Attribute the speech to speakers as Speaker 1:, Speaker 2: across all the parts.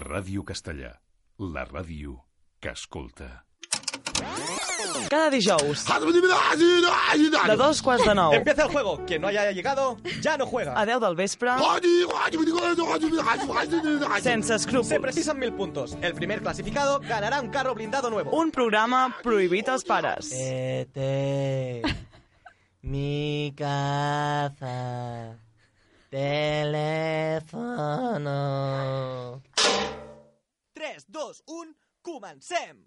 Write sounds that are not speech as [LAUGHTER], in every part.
Speaker 1: Ràdio Castellà, la ràdio que escolta.
Speaker 2: Cada dijous, de
Speaker 3: Empieza
Speaker 2: dos quarts de nou
Speaker 3: el juego. Quien no haya llegado, ya no
Speaker 2: a
Speaker 3: juega.
Speaker 2: 10 del vespre, sense
Speaker 3: Se
Speaker 2: escrúpols.
Speaker 3: precisan mil puntos. El primer clasificado ganará un carro blindado nuevo.
Speaker 2: Un programa prohibit als pares.
Speaker 4: Tete, [LAUGHS] mi casa, teléfono.
Speaker 3: 3, 2, 1, comencem!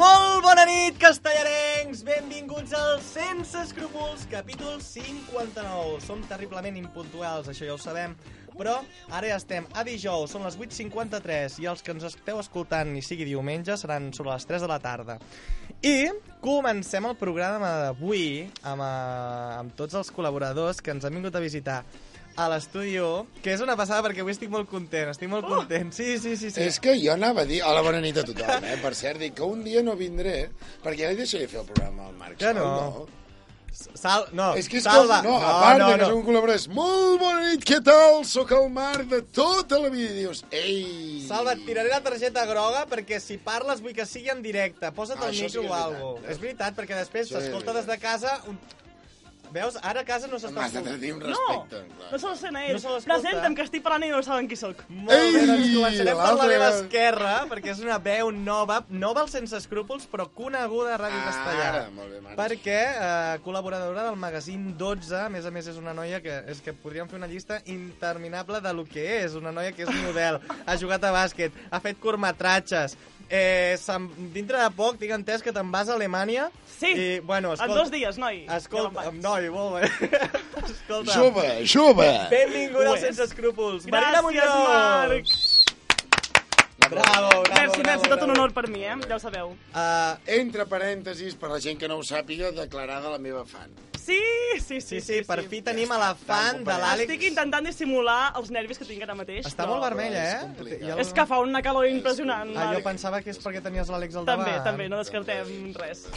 Speaker 3: Molt bona nit, castellarencs! Benvinguts al Sense Escrúpols, capítol 59. Som terriblement impuntuals, això ja ho sabem, però ara ja estem a dijous, són les 8.53 i els que ens esteu escoltant, i sigui diumenge, seran sobre les 3 de la tarda. I comencem el programa d'avui amb, eh, amb tots els col·laboradors que ens han vingut a visitar a l'estudio, que és una passada perquè avui estic molt content, estic molt content. Sí, sí, sí, sí.
Speaker 5: Oh! És que jo anava a dir... Hola, bona nit a tothom, eh? Per cert, dic que un dia no vindré, perquè ja li deixaré fer el programa al Marc.
Speaker 3: Ja
Speaker 5: Sol,
Speaker 3: no. Sal, no,
Speaker 5: És que és
Speaker 3: salva.
Speaker 5: que... No, a part de que és un col·laborador, és molt bona nit, què tal? Sóc el Marc de tota la vida. I dius, ei...
Speaker 3: Salva, et tiraré la targeta groga perquè si parles vull que sigui en directe. Posa't
Speaker 5: Ah,
Speaker 3: el
Speaker 5: això sí que és
Speaker 3: micro o
Speaker 5: veritat.
Speaker 3: alguna És veritat, perquè després
Speaker 5: Això és
Speaker 3: s'escolta des de
Speaker 5: veritat.
Speaker 3: casa... Un... Veus? Ara a casa no s'està...
Speaker 5: M'has de tenir un
Speaker 2: No,
Speaker 5: respecte.
Speaker 2: no se l'essent a ell.
Speaker 3: No se l'escolta.
Speaker 2: Presenta'm, que estic parlant i no saben qui sóc.
Speaker 3: Molt bé,
Speaker 5: Ei,
Speaker 3: doncs començarem per la
Speaker 5: l'altre.
Speaker 3: meva esquerra, perquè és una veu nova, nova al Sense Escrúpols, però coneguda a Ràdio
Speaker 5: Ah,
Speaker 3: Castellana.
Speaker 5: ara, molt bé, Marc.
Speaker 3: Perquè eh, col·laboradora del magazín 12, a més a més és una noia que, és que podríem fer una llista interminable de lo que és, una noia que és model, ha jugat a bàsquet, ha fet curtmetratges, eh, se'n- dintre de poc tinc entès que te'n vas a Alemanya
Speaker 2: Sí,
Speaker 3: i, bueno,
Speaker 2: En
Speaker 3: escolta,
Speaker 2: dos dies, noi.
Speaker 3: Escolta,
Speaker 2: Ja me'n vaig.
Speaker 3: noi, molt bé. [LAUGHS] escolta,
Speaker 5: Jove, jove!
Speaker 3: benvinguda
Speaker 2: Ho
Speaker 3: al
Speaker 2: és.
Speaker 3: Sense Escrúpols.
Speaker 2: Gràcies,
Speaker 3: Marina Muñoz!
Speaker 2: Marc.
Speaker 3: Bravo, bravo,
Speaker 2: Merci,
Speaker 3: bravo,
Speaker 2: merci, tot un
Speaker 3: bravo.
Speaker 2: honor per mi, eh? Ja ho sabeu.
Speaker 3: Uh,
Speaker 5: Entre parèntesis, per la gent que no ho sàpiga, declarada la meva fan.
Speaker 2: Sí, sí, sí.
Speaker 3: sí, sí, per fi tenim a la fan de
Speaker 5: Estic
Speaker 3: l'Àlex.
Speaker 2: Estic intentant dissimular els nervis que tinc ara mateix.
Speaker 3: Està
Speaker 2: però-
Speaker 3: molt vermella,
Speaker 5: és
Speaker 3: eh?
Speaker 5: complicat.
Speaker 3: Ja
Speaker 2: És que fa una calor impressionant,
Speaker 3: Ah, jo
Speaker 2: Marc.
Speaker 3: pensava que és perquè tenies l'Àlex al davant.
Speaker 2: També, també, no descartem res.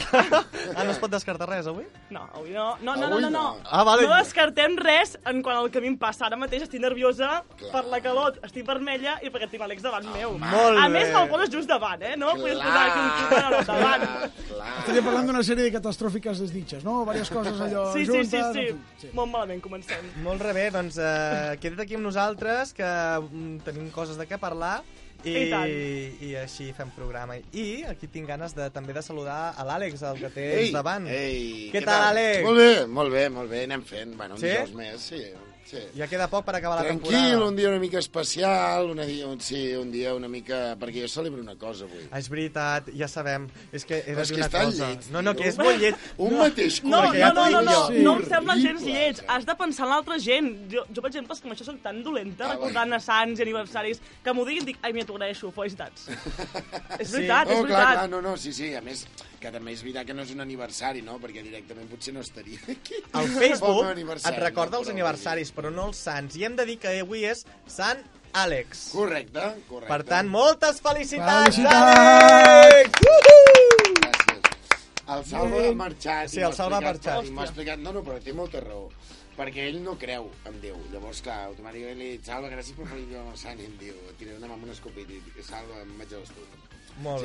Speaker 3: Ah, no es pot descartar res, avui?
Speaker 2: No, avui no. No, no, no,
Speaker 5: Avui
Speaker 2: no. no.
Speaker 5: no.
Speaker 3: Ah, vale.
Speaker 2: no descartem res en quan el camí em passa. Ara mateix estic nerviosa Clar.
Speaker 5: Clar.
Speaker 2: per la calor, estic vermella i perquè tinc l'Àlex davant meu.
Speaker 3: molt
Speaker 2: a
Speaker 3: bé.
Speaker 2: més, me'l poses just davant, eh? No me'l podies posar aquí un quilòmetre no, davant.
Speaker 5: Clar, clar.
Speaker 6: Estaria parlant d'una sèrie de catastròfiques desditges, no? Vàries coses allò
Speaker 2: Sí, sí,
Speaker 6: juntes...
Speaker 2: sí, sí,
Speaker 6: en fi,
Speaker 2: sí. Molt malament, comencem.
Speaker 3: Molt re bé, doncs eh, queda't aquí amb nosaltres, que mm, tenim coses de què parlar. I,
Speaker 2: I tant.
Speaker 3: i així fem programa. I aquí tinc ganes de, també de saludar a l'Àlex, el que té
Speaker 5: Ei,
Speaker 3: davant.
Speaker 5: ei,
Speaker 3: Què tal, Àlex?
Speaker 5: Molt bé, molt bé, molt bé, anem fent. Bueno, un
Speaker 3: Sí?
Speaker 5: dijous més, sí. sí.
Speaker 3: Ja queda poc per acabar la
Speaker 5: Tranquil,
Speaker 3: temporada.
Speaker 5: un dia una mica especial, una dia, un, sí, un dia una mica... Perquè jo celebro una cosa avui.
Speaker 3: Ah, és veritat, ja sabem. És que he
Speaker 5: Però
Speaker 3: de
Speaker 5: és
Speaker 3: dir
Speaker 5: que
Speaker 3: una
Speaker 5: estan
Speaker 3: cosa.
Speaker 5: llets,
Speaker 3: no, no,
Speaker 5: tio.
Speaker 3: que és molt llet.
Speaker 5: [LAUGHS] Un mateix
Speaker 2: No,
Speaker 3: Perquè ja
Speaker 2: no,
Speaker 5: col·lectiu.
Speaker 2: no, no, no,
Speaker 3: t'ho dic
Speaker 2: no
Speaker 3: jo.
Speaker 2: em sembla gens
Speaker 5: Horrible,
Speaker 2: lleig.
Speaker 5: saps?
Speaker 2: Has de pensar en l'altra gent. Jo, jo, per exemple, és que amb això soc tan dolenta,
Speaker 5: Ah,
Speaker 2: recordant
Speaker 5: bueno.
Speaker 2: a Sants i aniversaris, que m'ho diguin, dic, ai, mira, t'ho agraeixo, felicitats. és
Speaker 3: Sí.
Speaker 2: veritat, és
Speaker 5: No, Oh, clar, clar,
Speaker 2: veritat.
Speaker 5: no, no, sí, sí, a més, que també és veritat que no és un aniversari, no? Perquè directament potser no estaria aquí.
Speaker 3: El
Speaker 5: Pel
Speaker 3: Facebook
Speaker 5: meu
Speaker 3: et
Speaker 5: aniversari,
Speaker 3: recorda
Speaker 5: no,
Speaker 3: els
Speaker 5: però
Speaker 3: aniversaris, però no els sants. I hem de dir que avui és Sant Àlex.
Speaker 5: vull dir- Correcte, correcte.
Speaker 3: Per tant, moltes felicitats,
Speaker 6: Felicitats!
Speaker 3: Àlex! Uhuh!
Speaker 5: Gràcies. El Salva ha marxat.
Speaker 3: Sí,
Speaker 5: i m'ha
Speaker 3: el Salva ha
Speaker 5: explicat-
Speaker 3: marxat.
Speaker 5: i M'ha explicat... No, no, però té molta raó. Perquè ell no creu en Déu. Llavors, clar, automàticament li dic, Salva, gràcies per fer el sant. I em diu, tiraré una mà amb un escopit i dic, Salva, em vaig a l'estiu.
Speaker 3: Molt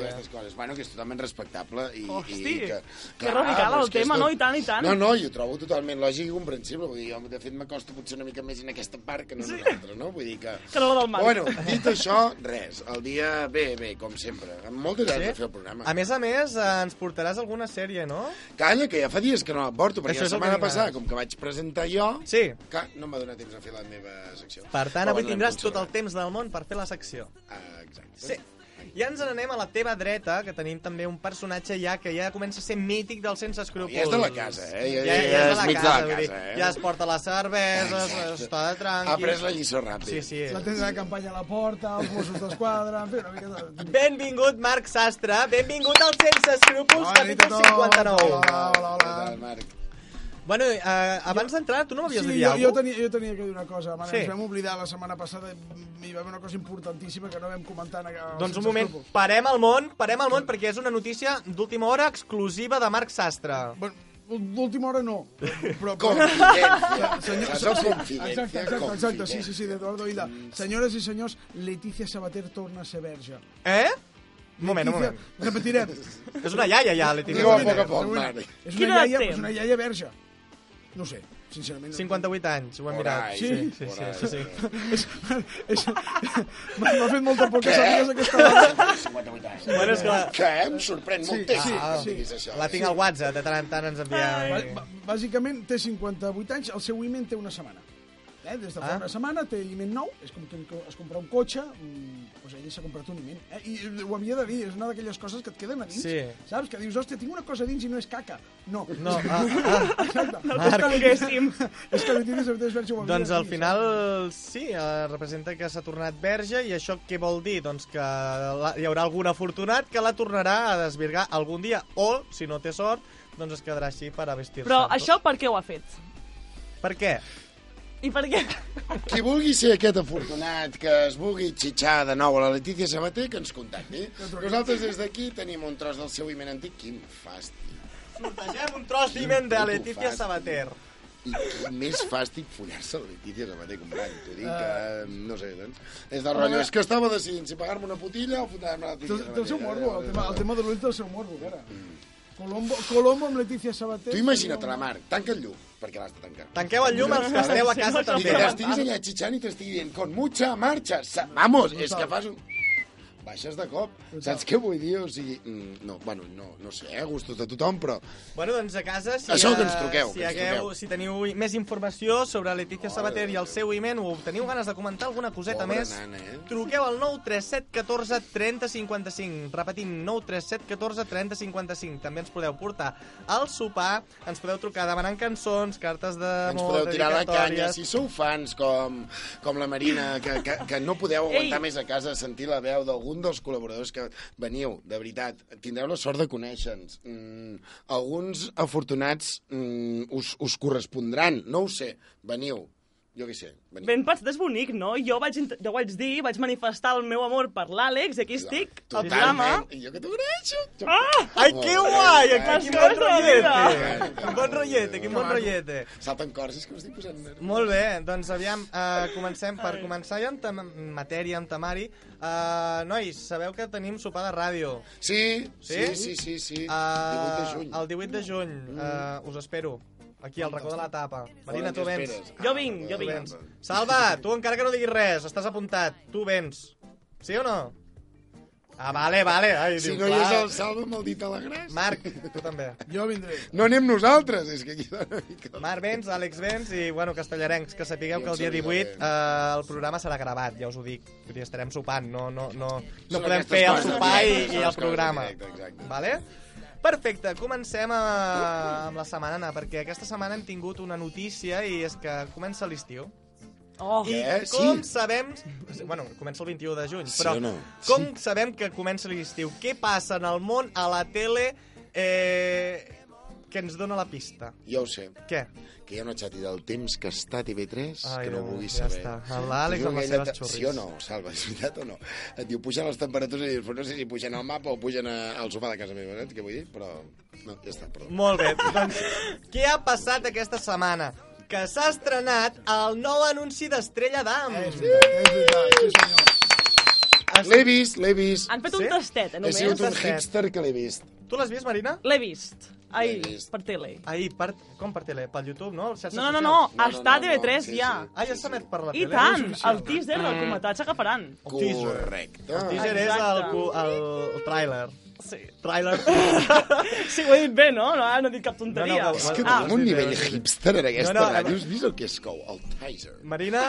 Speaker 5: sí,
Speaker 3: bé.
Speaker 5: aquestes coses. Bueno, que és totalment respectable i,
Speaker 2: Hosti,
Speaker 5: i que...
Speaker 2: que radical
Speaker 5: però
Speaker 2: el
Speaker 5: és que és
Speaker 2: tema, no? I tant, i tant.
Speaker 5: No, no, jo ho trobo totalment lògic i comprensible. Vull dir, jo, de fet, m'acosta potser una mica més en aquesta part que no en l'altra, no? Vull dir que...
Speaker 2: Que no la del Marc.
Speaker 5: Bueno, dit això, res. El dia bé, bé, com sempre. Amb moltes ganes de fer el programa.
Speaker 3: A més a més, eh, ens portaràs alguna sèrie, no?
Speaker 5: Calla, que ja fa dies que no la porto, perquè
Speaker 3: Això
Speaker 5: la
Speaker 3: és el que
Speaker 5: setmana
Speaker 3: tinc
Speaker 5: passada,
Speaker 3: ganes.
Speaker 5: com que vaig presentar jo,
Speaker 3: Sí.
Speaker 5: que no em va donar temps a fer la meva secció.
Speaker 3: Per tant,
Speaker 5: Però
Speaker 3: avui
Speaker 5: bueno,
Speaker 3: tindràs
Speaker 5: l'hem
Speaker 3: tot el
Speaker 5: conservat.
Speaker 3: temps del món per fer la secció.
Speaker 5: Ah, exacte.
Speaker 3: Sí. I ens n'anem a la teva dreta, que tenim també un personatge ja que ja comença a ser mític del sense escrúpols.
Speaker 5: Ja és de la casa, eh? Ja- ja
Speaker 3: és de
Speaker 5: és
Speaker 3: la
Speaker 5: mig de
Speaker 3: casa,
Speaker 5: la
Speaker 3: vull dir,
Speaker 5: casa, eh?
Speaker 3: Ja es porta les cerveses,
Speaker 5: Exacte.
Speaker 3: està de tranqui.
Speaker 5: Ha pres la lliçó ràpid.
Speaker 3: Sí, sí.
Speaker 6: La tenda de campanya a la porta, els Mossos d'Esquadra... En fi, una mica de...
Speaker 3: Benvingut, Marc Sastre. Benvingut al Sense Escrúpols,
Speaker 6: Bona nit a
Speaker 3: capítol
Speaker 6: tots. Hola,
Speaker 3: 59.
Speaker 6: hola,
Speaker 5: Què
Speaker 6: hola.
Speaker 5: tal, Marc?
Speaker 3: Bueno, eh, abans d'entrar, tu no m'havies de
Speaker 6: Sí, jo,
Speaker 3: dir
Speaker 6: jo,
Speaker 3: alguna cosa?
Speaker 6: tenia, jo tenia que dir una cosa. Mare,
Speaker 3: Sí.
Speaker 6: sí. Ens vam oblidar la setmana passada, mm, hi va haver una cosa importantíssima que no vam comentar. En aqu-
Speaker 3: Doncs un
Speaker 6: sense
Speaker 3: moment,
Speaker 6: escrúpols.
Speaker 3: parem el món, parem el món, perquè és una notícia d'última hora exclusiva de Marc Sastre.
Speaker 6: Bueno, d'última hora no. Però, però,
Speaker 5: Confidència.
Speaker 6: [LAUGHS] Senyor-
Speaker 5: Això és confidència.
Speaker 6: Exacte, exacte, exacte, sí, sí,
Speaker 5: confidència.
Speaker 6: sí, d'Eduardo Hilda. Senyores i senyors, Letícia Sabater torna a ser verge.
Speaker 3: Eh? Un moment, un
Speaker 6: Letícia-
Speaker 3: moment.
Speaker 6: Repetirem.
Speaker 3: És una iaia ja, Letícia.
Speaker 5: Diu a
Speaker 3: Sabater.
Speaker 5: poc a poc,
Speaker 6: Repetirem.
Speaker 5: mare.
Speaker 6: És
Speaker 2: Quina
Speaker 6: una
Speaker 2: edat
Speaker 6: iaia,
Speaker 2: té?
Speaker 6: però és una iaia verge. No ho sé, sincerament. no-
Speaker 3: 58 anys, ho hem mirat.
Speaker 5: Orai,
Speaker 6: Sí,
Speaker 3: sí,
Speaker 5: orai.
Speaker 3: sí, sí,
Speaker 6: [LAUGHS] És, és, M'ha m'ha fet molta por que sàpigues aquesta data.
Speaker 5: 58 anys.
Speaker 3: Bueno, és que
Speaker 5: Que em sorprèn
Speaker 6: Sí,
Speaker 5: moltíssim.
Speaker 6: sí,
Speaker 5: que
Speaker 6: sí.
Speaker 5: diguis això,
Speaker 3: la
Speaker 5: eh?
Speaker 3: tinc al WhatsApp, de tant en tant ens envia...
Speaker 6: Bà- Bàsicament té 58 anys, el seu iment té una setmana. Eh? Des de fa
Speaker 3: Ah.
Speaker 6: ah. una setmana té iment nou, és com que es compra un cotxe, mm, doncs ell s'ha comprat un iment. Eh? I ho havia de dir, és una d'aquelles coses que et queden a dins.
Speaker 3: Sí.
Speaker 6: Saps? Que dius, hòstia, tinc una cosa a dins i no és caca. No.
Speaker 3: No, ah, ah.
Speaker 6: Exacte.
Speaker 2: Marc. Volguéssim.
Speaker 6: [LAUGHS] és que l'Utility Sabater és verge. ho havia
Speaker 3: Doncs
Speaker 6: de
Speaker 3: al
Speaker 6: dir,
Speaker 3: final, sí, eh, representa que s'ha tornat verge i això què vol dir? Doncs que la- hi haurà algun afortunat que la tornarà a desvirgar algun dia o, si no té sort, doncs es quedarà així per a vestir-se.
Speaker 2: Però això per què ho ha fet?
Speaker 3: Per què?
Speaker 2: I per què?
Speaker 5: Qui vulgui ser aquest afortunat que es vulgui xitxar de nou a la Letícia Sabater, que ens contacti. Nosaltres des d'aquí tenim un tros del seu iment antic. Quin fàstic.
Speaker 3: Sortegem un tros d'iment de Letícia Sabater.
Speaker 5: I quin més fàstic follar-se la Letícia Sabater, company. T'ho dic
Speaker 6: Ah.
Speaker 5: que... No sé, doncs. És del rotllo. És que estava decidint si pagar-me una putilla o fotar-me la
Speaker 6: Té,
Speaker 5: Letícia
Speaker 6: té el seu morbo, el tema, el
Speaker 5: Sabater.
Speaker 6: tema de l'ull té el seu morbo, cara. Colombo, Colombo amb Letícia Sabater...
Speaker 5: Tu imagina't la Marc, tanca el llum, perquè l'has de tancar.
Speaker 3: Tanqueu el llum els que esteu a casa
Speaker 5: I
Speaker 3: també.
Speaker 5: que estiguis allà xitxant i t'estigui dient con mucha marcha, sa- vamos, és que fas un... Baixes de cop. Saps què vull dir? O sigui, mm, no, bueno, no, no sé, eh, gustos de tothom, però...
Speaker 3: Bueno, doncs a casa, si,
Speaker 5: Això que
Speaker 3: eh,
Speaker 5: ens truqueu,
Speaker 3: si,
Speaker 5: que ens
Speaker 3: hagueu-
Speaker 5: truqueu.
Speaker 3: si teniu i- més informació sobre Letícia
Speaker 5: Mare
Speaker 3: Sabater i
Speaker 5: de
Speaker 3: el seu iment o teniu ganes de comentar alguna coseta
Speaker 5: Pobra
Speaker 3: més,
Speaker 5: nana, eh?
Speaker 3: truqueu al 937 14 30 55. Repetim, 937 14 30 55. També ens podeu portar al sopar, ens podeu trucar demanant cançons, cartes de
Speaker 5: Ens podeu tirar la canya, si sou fans com, com la Marina, que, que, que no podeu aguantar
Speaker 2: Ei!
Speaker 5: més a casa sentir la veu d'algun dels col·laboradors que veniu, de veritat, tindreu la sort de conèixer-nos. Mm, alguns afortunats mm, us, us correspondran, no ho sé, veniu, jo què sé, veniu.
Speaker 2: Ben pensat és bonic, no? Jo vaig, int- jo vaig dir, vaig manifestar el meu amor per l'Àlex, i aquí estic, al
Speaker 5: Totalment.
Speaker 2: programa.
Speaker 5: Jo que t'agraeixo.
Speaker 2: Ah!
Speaker 3: Ai, que guai!
Speaker 2: Ai,
Speaker 3: Quin
Speaker 2: que
Speaker 3: bon
Speaker 2: bona
Speaker 5: vida!
Speaker 3: rotllete! Quin bon rotllete, quin bon rotllete.
Speaker 5: Salten cors, és que m'estic posant nerviós.
Speaker 3: Molt bé, doncs aviam, eh, comencem. Per començar ja amb tem- matèria, amb temari, eh, nois, sabeu que tenim sopar de ràdio.
Speaker 5: Sí, sí, sí,
Speaker 3: Sí?
Speaker 5: sí, sí.
Speaker 3: Eh,
Speaker 5: 18 de juny. Mm.
Speaker 3: El 18 de juny. Eh, us espero. Aquí, al racó de la tapa. Marina,
Speaker 5: Quan
Speaker 3: tu vens.
Speaker 5: t'esperes?
Speaker 2: Jo vinc, jo
Speaker 5: tu
Speaker 2: vinc.
Speaker 5: vens.
Speaker 3: Salva, tu encara que no diguis res, estàs apuntat. Tu vens. Sí o no? Ah, vale, vale. Ai,
Speaker 5: Si
Speaker 3: diu,
Speaker 5: no hi és
Speaker 3: clar.
Speaker 5: el Salva amb el dit a la gràcia.
Speaker 3: Marc, tu també.
Speaker 6: Jo vindré.
Speaker 5: No anem nosaltres, és que aquí dona una mica...
Speaker 3: Marc vens, Àlex vens i, bueno, castellarencs, que sapigueu
Speaker 5: I
Speaker 3: que el dia
Speaker 5: en Xavi
Speaker 3: 18
Speaker 5: Llorens.
Speaker 3: eh, el programa serà gravat, ja us ho dic. Vull dir, estarem sopant, no, no, no, no
Speaker 5: Són
Speaker 3: podem
Speaker 5: aquestes
Speaker 3: fer el
Speaker 5: coses en
Speaker 3: sopar i,
Speaker 5: directe,
Speaker 3: i
Speaker 5: són
Speaker 3: el
Speaker 5: les coses en
Speaker 3: programa.
Speaker 5: directe, exacte.
Speaker 3: Vale? Perfecte, comencem a, amb la setmana, perquè aquesta setmana hem tingut una notícia i és que comença l'estiu.
Speaker 2: Oh,
Speaker 3: I
Speaker 5: Què?
Speaker 3: com
Speaker 5: Sí.
Speaker 3: sabem... Bueno, comença el 21 de juny,
Speaker 5: Sí
Speaker 3: però
Speaker 5: o no?
Speaker 3: com sabem que comença l'estiu? Què passa en el món, a la tele, eh, que ens dona la pista?
Speaker 5: Jo ho sé,
Speaker 3: Què?
Speaker 5: que hi ha una xati del temps que està a TV3
Speaker 3: Ai,
Speaker 5: que no
Speaker 3: Déu,
Speaker 5: vulguis
Speaker 3: ja
Speaker 5: saber.
Speaker 3: està. L'Àlex
Speaker 5: Diu
Speaker 3: amb les
Speaker 5: aquella
Speaker 3: seves
Speaker 5: ta-
Speaker 3: xurris.
Speaker 5: Sí o no, Salva, és veritat o no? Et diu, pugen les temperatures i dius, però no sé si pugen al mapa o pugen a, al sofà de casa meva, saps què vull dir? Però, no, ja està, perdó.
Speaker 3: Molt
Speaker 5: [LAUGHS]
Speaker 3: bé, doncs, què ha passat aquesta setmana? Que s'ha estrenat el nou anunci d'Estrella d'Am.
Speaker 5: Eh,
Speaker 6: És veritat, és veritat, sí senyor.
Speaker 5: L'he vist, l'he vist.
Speaker 2: han fet un
Speaker 3: Sí?
Speaker 2: tastet, eh,
Speaker 5: He sigut un
Speaker 2: només.
Speaker 3: tastet.
Speaker 5: hipster que l'he vist.
Speaker 3: Tu l'has vist, Marina?
Speaker 2: L'he vist. Ahir,
Speaker 5: L'he vist.
Speaker 2: per tele.
Speaker 3: Ahir, per, com per tele? Pel YouTube, no? Les xarxes
Speaker 2: No, no, no,
Speaker 3: socials?
Speaker 2: no, està a TV3
Speaker 5: sí,
Speaker 2: ja.
Speaker 5: sí.
Speaker 3: Ah, ja s'emet per la
Speaker 2: I
Speaker 3: tele?
Speaker 2: tant, el teaser del cometat s'agafaran.
Speaker 3: El teaser.
Speaker 5: Correcte.
Speaker 3: El teaser és el,
Speaker 2: Exacte.
Speaker 3: cu- el, el tràiler.
Speaker 2: Sí.
Speaker 3: Tràiler.
Speaker 2: [LAUGHS] [LAUGHS] Sí, ho he dit bé, no? No, ara no he dit cap tonteria.
Speaker 3: No, no,
Speaker 5: És que
Speaker 2: ah,
Speaker 5: tenim un nivell
Speaker 3: sí, sí.
Speaker 5: hipster en aquesta
Speaker 3: No, no,
Speaker 5: ràdio.
Speaker 3: no.
Speaker 5: Has vist el que és cou? El teaser.
Speaker 3: Marina,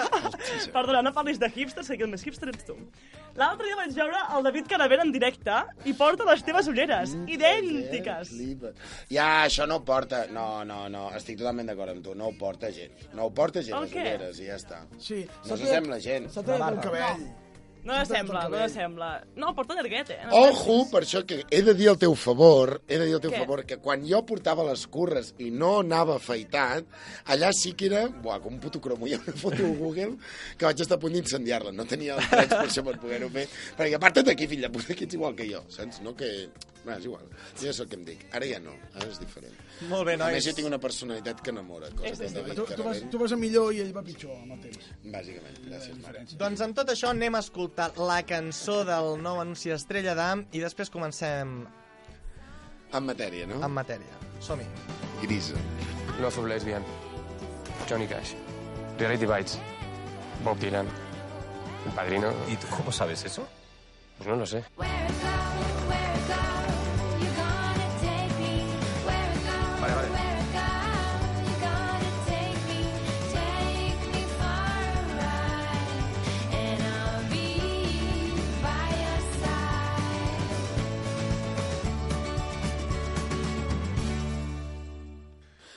Speaker 2: Perdona, no parlis de hipsters, que aquí el més hipster ets tu. L'altre dia vaig veure el David Caravera en directe i porta les teves ulleres,
Speaker 5: Mm.
Speaker 2: idèntiques.
Speaker 5: Flipa. Ja, això no ho porta... No, no, no, estic totalment d'acord amb tu. No ho porta gent. No ho porta gent,
Speaker 2: El
Speaker 5: les
Speaker 2: què?
Speaker 5: ulleres, i ja està.
Speaker 6: Sí.
Speaker 5: No
Speaker 6: s'ha tallat-
Speaker 5: s'assembla gent.
Speaker 6: S'ha tallat el
Speaker 3: barba.
Speaker 6: cabell.
Speaker 2: No sembla, no sembla. No, porta llarguet, eh? No
Speaker 5: Ojo, per això que he de dir al teu favor, he de dir al teu
Speaker 2: Què?
Speaker 5: favor, que quan jo portava les curres i no anava afaitat, allà sí que era, buah, com un puto cromo, [LAUGHS] hi ha una foto a Google que vaig estar a punt d'incendiar-la, no tenia els drets per això per poder-ho fer, perquè aparta't d'aquí, fill de puta, que ets igual que jo, saps? No que... Va, és igual, jo és el que em dic, ara ja no, ara és diferent.
Speaker 3: Molt bé,
Speaker 5: A
Speaker 3: nois.
Speaker 5: més, jo tinc una personalitat que enamora, cosa que el David
Speaker 6: Tu, tu, vas,
Speaker 5: Carabell,
Speaker 6: tu vas a millor i ell va pitjor amb el temps.
Speaker 5: bàsicament, gràcies, mare.
Speaker 3: Doncs amb tot això anem a escoltar la cançó del nou anunci Estrella d'Am i després comencem
Speaker 5: En matèria, no?
Speaker 3: amb matèria. Som-hi.
Speaker 5: Grisa.
Speaker 7: Love of Lesbian, Johnny Cash, Reality Bites, Bob Dylan, El Padrino.
Speaker 8: ¿Y tú cómo sabes eso?
Speaker 7: Pues no lo sé.
Speaker 8: Vale, vale.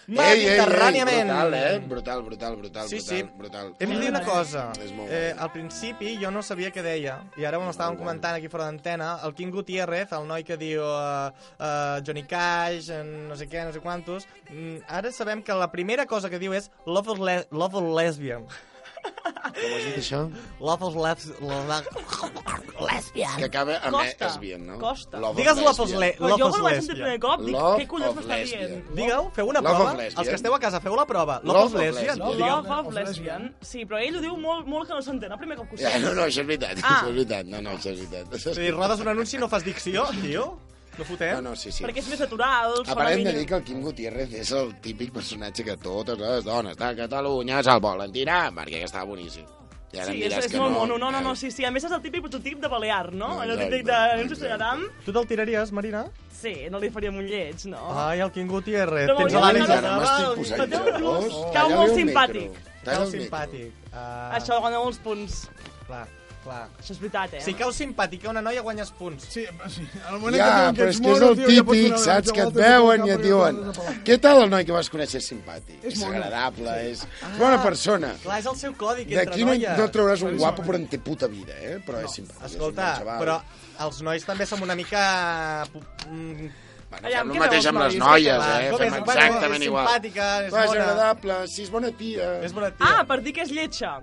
Speaker 3: Mediterràniament.
Speaker 5: brutal, eh? Brutal, brutal, brutal,
Speaker 3: Sí,
Speaker 5: brutal,
Speaker 3: sí.
Speaker 5: brutal.
Speaker 3: Hem de dir una cosa.
Speaker 5: És molt guai.
Speaker 3: Eh, al principi jo no sabia què deia, i ara ho estàvem comentant aquí fora d'antena, el Quim Gutiérrez, el noi que diu eh, eh, Johnny Cash, en no sé què, no sé quantos, mm, ara sabem que la primera cosa que diu és Love of, le love of Lesbian.
Speaker 5: Com has dit això?
Speaker 3: Love of les Lesbian.
Speaker 5: Que acaba amb
Speaker 2: Costa.
Speaker 5: Costa. lesbian, no?
Speaker 2: Costa.
Speaker 5: Love of
Speaker 3: Digues Love of,
Speaker 5: lesbian.
Speaker 3: le
Speaker 2: Però
Speaker 3: love
Speaker 2: jo
Speaker 3: of
Speaker 2: quan ho vaig sentir el primer
Speaker 3: Lesbian.
Speaker 2: cop dic,
Speaker 5: Love
Speaker 2: què collons
Speaker 5: of
Speaker 2: m'està
Speaker 5: lesbian.
Speaker 2: dient?
Speaker 3: Digueu, feu una
Speaker 5: Love
Speaker 3: prova.
Speaker 5: of lesbian.
Speaker 3: Els que esteu a casa, feu la prova. Love,
Speaker 5: Love
Speaker 3: of
Speaker 5: of
Speaker 3: Lesbian.
Speaker 5: lesbian.
Speaker 3: Digueu.
Speaker 2: Love of lesbian. Sí, però ell ho diu molt, molt que no s'entén el primer cop que ho
Speaker 5: Ja,
Speaker 2: sent.
Speaker 5: no, no, això és veritat, ah. això
Speaker 2: Ah.
Speaker 5: és veritat. No, no, això és veritat.
Speaker 3: És a dir, rodes un anunci i no fas dicció, tio. No fotem.
Speaker 5: No, no, sí, sí.
Speaker 2: Perquè és més natural,
Speaker 5: A part, hem de dir que el Quim Gutiérrez és el típic personatge que totes les dones de Catalunya se'l volen tirar, perquè està boníssim. I ara em
Speaker 2: Sí, és,
Speaker 5: diràs
Speaker 2: és
Speaker 5: que
Speaker 2: molt
Speaker 5: no,
Speaker 2: mono. No, no, no,
Speaker 5: tal.
Speaker 2: sí, sí. A més, és el típic prototip de Balear, no?
Speaker 5: No,
Speaker 2: Allò
Speaker 5: exacte,
Speaker 2: típic de... Anem a
Speaker 5: exacte.
Speaker 2: Sollaram.
Speaker 3: Tu te'l tiraries, Marina?
Speaker 2: Sí, no li faríem un lleig, no?
Speaker 3: Ai, el Quim Gutiérrez.
Speaker 2: Però
Speaker 3: Tens
Speaker 2: m'hauria
Speaker 3: l'ànec
Speaker 2: agradat
Speaker 5: Ara
Speaker 3: de
Speaker 5: m'estic
Speaker 2: Nadal,
Speaker 5: posant
Speaker 2: però té un
Speaker 5: gelós.
Speaker 2: plus.
Speaker 5: Talla-li
Speaker 2: Cau molt
Speaker 5: el micro.
Speaker 2: simpàtic.
Speaker 5: Talla
Speaker 3: Cau
Speaker 5: el micro.
Speaker 3: simpàtic. Ah,
Speaker 2: Això guanya molts punts.
Speaker 3: Clar, clar.
Speaker 2: Això és veritat, eh?
Speaker 3: Si cau simpàtica una noia guanyes punts.
Speaker 6: Sí, sí. Al moment
Speaker 5: Ja,
Speaker 6: que diuen
Speaker 5: però
Speaker 6: ets
Speaker 5: és que és
Speaker 6: mono,
Speaker 5: el
Speaker 6: tio, ja pots
Speaker 5: típic,
Speaker 6: donar una
Speaker 5: saps? Que et
Speaker 6: volta,
Speaker 5: veuen i
Speaker 6: cap
Speaker 5: et
Speaker 6: perquè
Speaker 5: diuen
Speaker 6: t'has de pelar.
Speaker 5: què tal el noi que vas conèixer és simpàtic,
Speaker 6: És
Speaker 5: és
Speaker 6: mono.
Speaker 5: agradable, és bona persona.
Speaker 3: Clar, és el seu codi que entre
Speaker 5: D'aquí no,
Speaker 3: noies.
Speaker 5: no trauràs un guapo però en té puta vida, eh? Però és simpàtic. és un
Speaker 3: Escolta,
Speaker 5: bon xaval.
Speaker 3: però els nois també som una mica... pu- mm,
Speaker 5: Bueno,
Speaker 2: Aviam,
Speaker 5: fem
Speaker 2: què
Speaker 5: el mateix
Speaker 2: veus,
Speaker 5: amb les
Speaker 2: Maurici?
Speaker 5: noies,
Speaker 3: Va,
Speaker 5: eh?
Speaker 3: com
Speaker 5: Fem
Speaker 3: és- bueno,
Speaker 5: exactament
Speaker 3: és
Speaker 5: igual.
Speaker 3: simpàtica, és
Speaker 5: Va, és
Speaker 3: bona.
Speaker 5: agradable, si és bona tia.
Speaker 3: És bona tia.
Speaker 2: Ah, per dir que és lletja.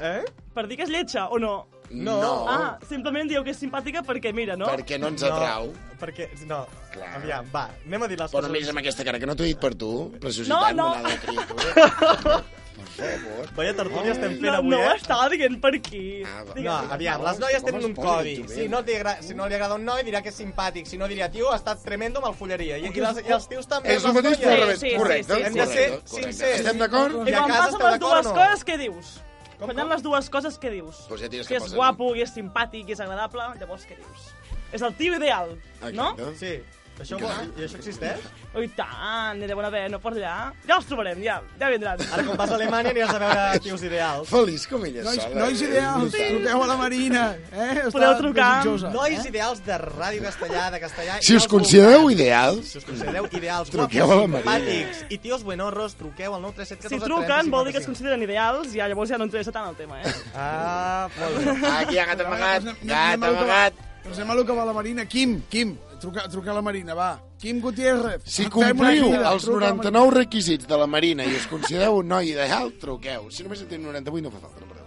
Speaker 3: Eh?
Speaker 2: Per dir que és lletja, o no?
Speaker 5: No,
Speaker 3: No.
Speaker 2: Ah, simplement dieu que és simpàtica perquè, mira, no?
Speaker 5: perquè no ens atrau.
Speaker 3: Perquè, no,
Speaker 5: Clar.
Speaker 3: aviam, va, anem a dir les
Speaker 5: Però no miris
Speaker 3: coses.
Speaker 5: amb aquesta cara, que no t'ho he dit per tu.
Speaker 2: No,
Speaker 5: Preciositat,
Speaker 2: no.
Speaker 5: monada de criatura. Per favor.
Speaker 3: Vaya tertúlia estem fent
Speaker 2: No,
Speaker 3: avui,
Speaker 2: no
Speaker 3: eh?
Speaker 2: ho estava dient per aquí.
Speaker 5: Ah, va.
Speaker 3: No,
Speaker 2: Digues,
Speaker 3: aviam, les noies tenen un codi. Si no, té gra- si no li agrada un noi, dirà que és simpàtic. Si no, diria, tio, ha estat tremendo, me'l follaria. I, i, les, i els tios també...
Speaker 5: És el
Speaker 3: les
Speaker 5: mateix, però al
Speaker 3: noies.
Speaker 5: revés.
Speaker 2: Sí, sí,
Speaker 5: Correcte.
Speaker 2: sí, sí.
Speaker 5: correcte,
Speaker 2: Hem de
Speaker 3: ser
Speaker 5: correcte.
Speaker 3: sincers.
Speaker 5: Estem d'acord?
Speaker 2: I
Speaker 3: a
Speaker 2: quan
Speaker 3: casa
Speaker 2: passen
Speaker 3: esteu
Speaker 2: les dues
Speaker 3: d'acord o no?
Speaker 2: coses, què dius?
Speaker 3: Com,
Speaker 2: Quan hi ha
Speaker 3: com?
Speaker 2: les dues coses, què dius?
Speaker 5: Doncs ja tens
Speaker 2: que
Speaker 5: que
Speaker 2: és
Speaker 5: passar-ho.
Speaker 2: guapo, i és simpàtic, i és agradable, llavors què dius? És el tio ideal, no?
Speaker 5: Exacte.
Speaker 3: Sí. Això, ho- I això existeix?
Speaker 2: Oh, I tant, hi deuen haver, no per allà. Ja els trobarem, ja, ja vindran.
Speaker 3: Ara, quan vas a Alemanya, aniràs a veure tios ideals.
Speaker 5: Feliç com ella
Speaker 6: Nois,
Speaker 5: sola.
Speaker 6: nois
Speaker 5: eh?
Speaker 6: ideals,
Speaker 5: És brutal.
Speaker 6: truqueu a la Marina. Eh? Està
Speaker 2: Podeu trucar.
Speaker 6: desitjosa.
Speaker 3: Nois ideals de ràdio castellà, de castellà... i
Speaker 5: Si us
Speaker 3: dels
Speaker 5: considereu
Speaker 3: voltants.
Speaker 5: ideals,
Speaker 3: Si us considereu ideals,
Speaker 5: Truqueu
Speaker 3: guapos,
Speaker 5: a la Marina.
Speaker 3: simpàtics i tios buenorros, truqueu al 9 3 7
Speaker 2: Si truquen, vol dir que es consideren ideals i llavors ja no interessa tant el tema, eh?
Speaker 3: Ah, molt bé.
Speaker 5: aquí hi ha gat amagat,
Speaker 6: Anem- anem
Speaker 5: gat
Speaker 6: a lo que va-
Speaker 5: amagat.
Speaker 6: Doncs anem a lo que va la Marina. Quim, Quim, truca, truca a la Marina, va. Quim Gutiérrez.
Speaker 5: Si
Speaker 6: fem
Speaker 5: compliu
Speaker 6: una crida,
Speaker 5: els
Speaker 6: truca a la Marina.
Speaker 5: 99 requisits de la Marina i us considereu un noi ideal, truqueu. Si només en teniu 98 no fa falta, no perdeu.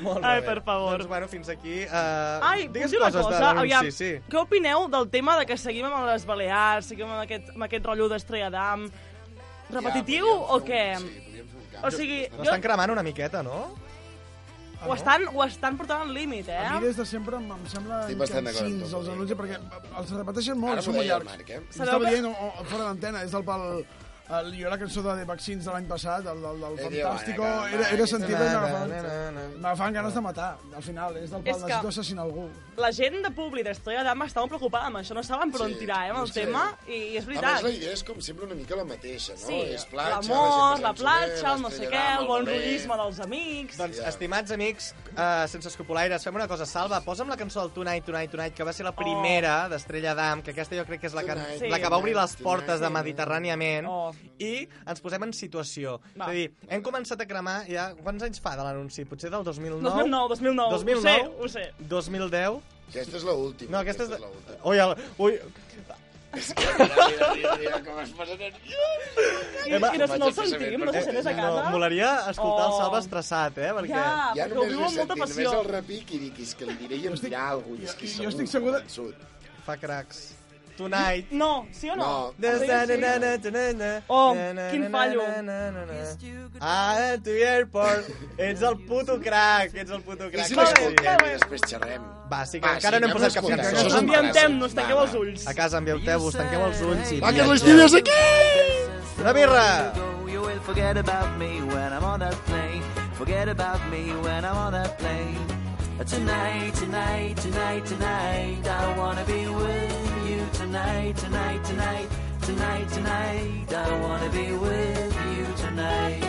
Speaker 3: Molt bé.
Speaker 2: Ai, per favor.
Speaker 3: Doncs, bueno, fins aquí... Uh,
Speaker 2: Ai,
Speaker 3: digues
Speaker 2: puc dir una
Speaker 3: coses
Speaker 2: cosa?
Speaker 3: de l'anunci,
Speaker 2: Aviam,
Speaker 3: sí.
Speaker 2: què opineu del tema de que seguim amb les Balears, seguim amb aquest, amb aquest rotllo d'Estrella d'Am? Repetitiu
Speaker 5: Ja,
Speaker 2: Uh, o
Speaker 5: podríem fer
Speaker 2: què?
Speaker 5: un- Sí, podríem fer un canvi.
Speaker 2: O sigui, jo,
Speaker 3: L'estan cremant una miqueta, no?
Speaker 2: ho, estan, ho estan portant al límit, eh?
Speaker 6: A mi des de sempre em, em sembla
Speaker 5: Estic bastant d'acord amb
Speaker 6: cansins
Speaker 5: tu,
Speaker 6: els
Speaker 5: Marina.
Speaker 6: anuncis, perquè els repeteixen molt,
Speaker 5: Ara m'ho
Speaker 6: són molt
Speaker 5: deia el
Speaker 6: llargs.
Speaker 5: Marc, eh?
Speaker 2: Sabeu
Speaker 6: Estava
Speaker 2: que-
Speaker 6: dient, o, o, fora d'antena, és del pal... El, jo la cançó de The Vaccines de l'any passat, el del, del
Speaker 5: Eh, tio,
Speaker 6: Fantàstico,
Speaker 5: bueno, que-
Speaker 6: era, era sentit i
Speaker 3: Na,
Speaker 6: m'agafaven-
Speaker 3: na, na, na.
Speaker 6: m'agafaven ganes de matar. Al final, és del pal,
Speaker 2: És que-
Speaker 6: necessito assassinar algú.
Speaker 2: La gent de públic d'Estrella d'Am està molt preocupada amb això, no saben per on
Speaker 5: Sí,
Speaker 2: tirar, eh, amb el
Speaker 5: sí.
Speaker 2: tema, i, i és
Speaker 5: A més,
Speaker 2: veritat.
Speaker 5: la idea és com sempre una mica la mateixa, no?
Speaker 2: Sí,
Speaker 5: és platja,
Speaker 2: l'amor, la
Speaker 5: gent
Speaker 2: platja,
Speaker 5: passant-s'ho
Speaker 2: el no
Speaker 5: bé,
Speaker 2: sé què,
Speaker 5: l'estrellarà
Speaker 2: el
Speaker 5: molt
Speaker 2: bon
Speaker 5: bé.
Speaker 2: rollisme dels amics...
Speaker 3: Doncs,
Speaker 5: Ja.
Speaker 3: estimats amics uh, sense escrupolaires, fem una cosa. Salva, posa'm la cançó del Tonight, Tonight, Tonight, que va
Speaker 2: Oh.
Speaker 3: ser la primera d'Estrella d'Am, que aquesta jo crec que és la que,
Speaker 5: Tonight,
Speaker 3: la que va obrir les
Speaker 5: Tonight,
Speaker 3: portes de
Speaker 5: Tonight.
Speaker 3: Mediterràniament.
Speaker 2: Oh,
Speaker 3: I ens posem en situació.
Speaker 2: Va.
Speaker 3: És a dir, hem començat a cremar ja... Quants anys fa de l'anunci? Potser del 2009?
Speaker 2: 2009, 2009,
Speaker 3: 2009?
Speaker 2: ho sé,
Speaker 5: Eh,
Speaker 2: ho sé.
Speaker 3: 2010?
Speaker 5: Aquesta és l'última.
Speaker 3: No, aquesta és...
Speaker 5: és l'última.
Speaker 3: Ui, el... Ui,
Speaker 5: Mira, mira, mira, mira
Speaker 2: [LAUGHS]
Speaker 5: com es posa nerviós.
Speaker 2: I, i no, no el
Speaker 5: Vaig a saber,
Speaker 2: sentim, no
Speaker 5: perquè-
Speaker 2: se sent des de
Speaker 3: no,
Speaker 2: casa.
Speaker 3: molaria escoltar el
Speaker 2: Oh.
Speaker 3: Salva estressat, eh? Perquè...
Speaker 2: Ja,
Speaker 5: Ja
Speaker 2: perquè ho
Speaker 5: només
Speaker 2: viu
Speaker 5: l'he
Speaker 2: amb molta
Speaker 5: sentit, només
Speaker 2: passió.
Speaker 5: el repic i dic, és que li diré i em
Speaker 6: estic-
Speaker 5: dirà alguna cosa. És que
Speaker 6: jo
Speaker 5: segur
Speaker 6: estic
Speaker 5: que
Speaker 6: segura-
Speaker 5: convençut.
Speaker 3: Fa cracs.
Speaker 2: [LAUGHS]
Speaker 3: Tonight.
Speaker 2: No, sí o no?
Speaker 5: No.
Speaker 3: Des
Speaker 2: Sí,
Speaker 3: de na
Speaker 2: sí.
Speaker 3: na na na na na
Speaker 2: Oh,
Speaker 3: na na
Speaker 2: quin
Speaker 3: na
Speaker 2: fallo.
Speaker 3: na na na na. Ah, at the airport. Ets el puto crac, ets el puto
Speaker 5: I
Speaker 3: crac.
Speaker 5: si
Speaker 2: Va bé,
Speaker 5: l'escoltem
Speaker 2: va bé.
Speaker 5: i després xerrem.
Speaker 3: Va, sí que
Speaker 5: Va,
Speaker 3: encara
Speaker 5: Ah, sí,
Speaker 3: no hem
Speaker 5: anem
Speaker 3: posat cap
Speaker 5: escoltant.
Speaker 3: cançó.
Speaker 5: Això és un braç.
Speaker 2: Enviem-nos, tanqueu els
Speaker 5: Va, va.
Speaker 2: ulls.
Speaker 3: A casa envieu-vos, tanqueu els ulls i...
Speaker 5: Va, que
Speaker 3: mira.
Speaker 5: les tires aquí!
Speaker 3: Una birra!
Speaker 9: You will forget about me when I'm on that plane. Forget about me when I'm on that plane. Uh, Tonight, tonight, tonight, tonight. I wanna be with you tonight, tonight, tonight, tonight, tonight. I wanna be with you tonight.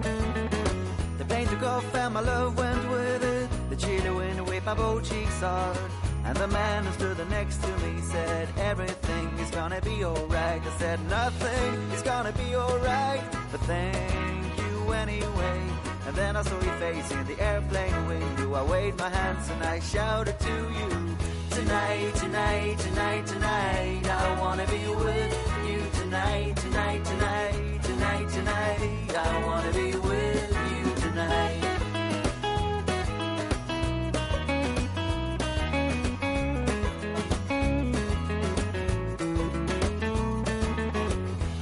Speaker 9: The plane took off and my love went with it. The chilly wind whipped my both cheeks hard. And the man who stood next to me said, Everything is gonna be alright. I said, Nothing is gonna be alright. But thank you anyway. And then I saw your face in the airplane window. I waved my hands and I shouted to you. Tonight, tonight, tonight, tonight. I wanna be with you tonight, tonight, tonight, tonight, tonight. I wanna be with you tonight.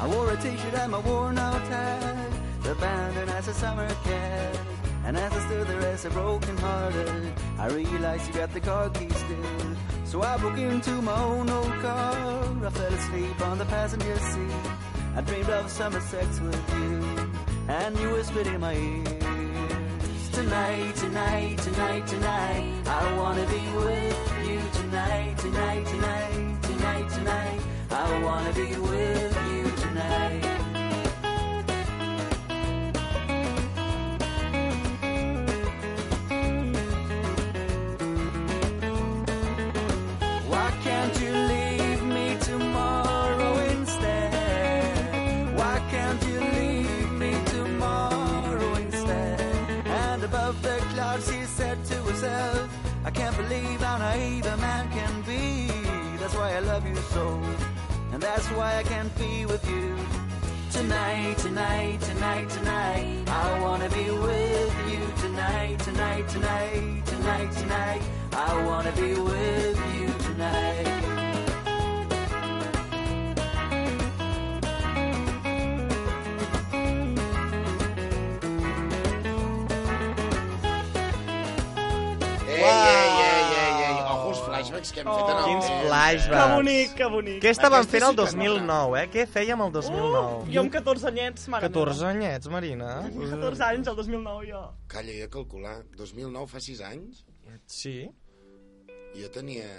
Speaker 9: I wore a t-shirt and my worn-out tie Abandoned as a summer cat And as I stood there as a broken hearted I realized you got the car keys still So I broke into my own old car I fell asleep on the passenger seat I dreamed of summer sex with you And you whispered in my ear Tonight, tonight, tonight, tonight. I wanna be with you tonight, tonight, tonight, tonight, tonight. I wanna be with you tonight. Why can't you leave me tomorrow instead? Why can't you leave me tomorrow instead? And above the clouds, she said to herself, I can't believe how naive a man can be. That's why I love you so, and that's why I can't be with you. Tonight, tonight, tonight, tonight, I wanna be with you. Tonight, tonight, tonight, tonight, tonight, I wanna be with you tonight.
Speaker 5: Ei, ei, ei, ei, ei. Ojo, els flashbacks que hem fet en el...
Speaker 3: Quins
Speaker 5: temps, eh?
Speaker 2: Que
Speaker 3: flashbacks.
Speaker 2: bonic, que bonic.
Speaker 3: Què estàvem
Speaker 5: Aquesta
Speaker 3: fent el
Speaker 5: sí que no,
Speaker 3: 2009, eh? Què fèiem el
Speaker 2: Uh, jo
Speaker 3: 2009?
Speaker 2: amb 14 anyets, mare
Speaker 3: 14 anyets, Marina.
Speaker 2: meva. 14 anys, el 2009, jo.
Speaker 5: Calla, jo he calculat. 2009 fa 6 anys?
Speaker 3: Sí.
Speaker 5: Jo tenia...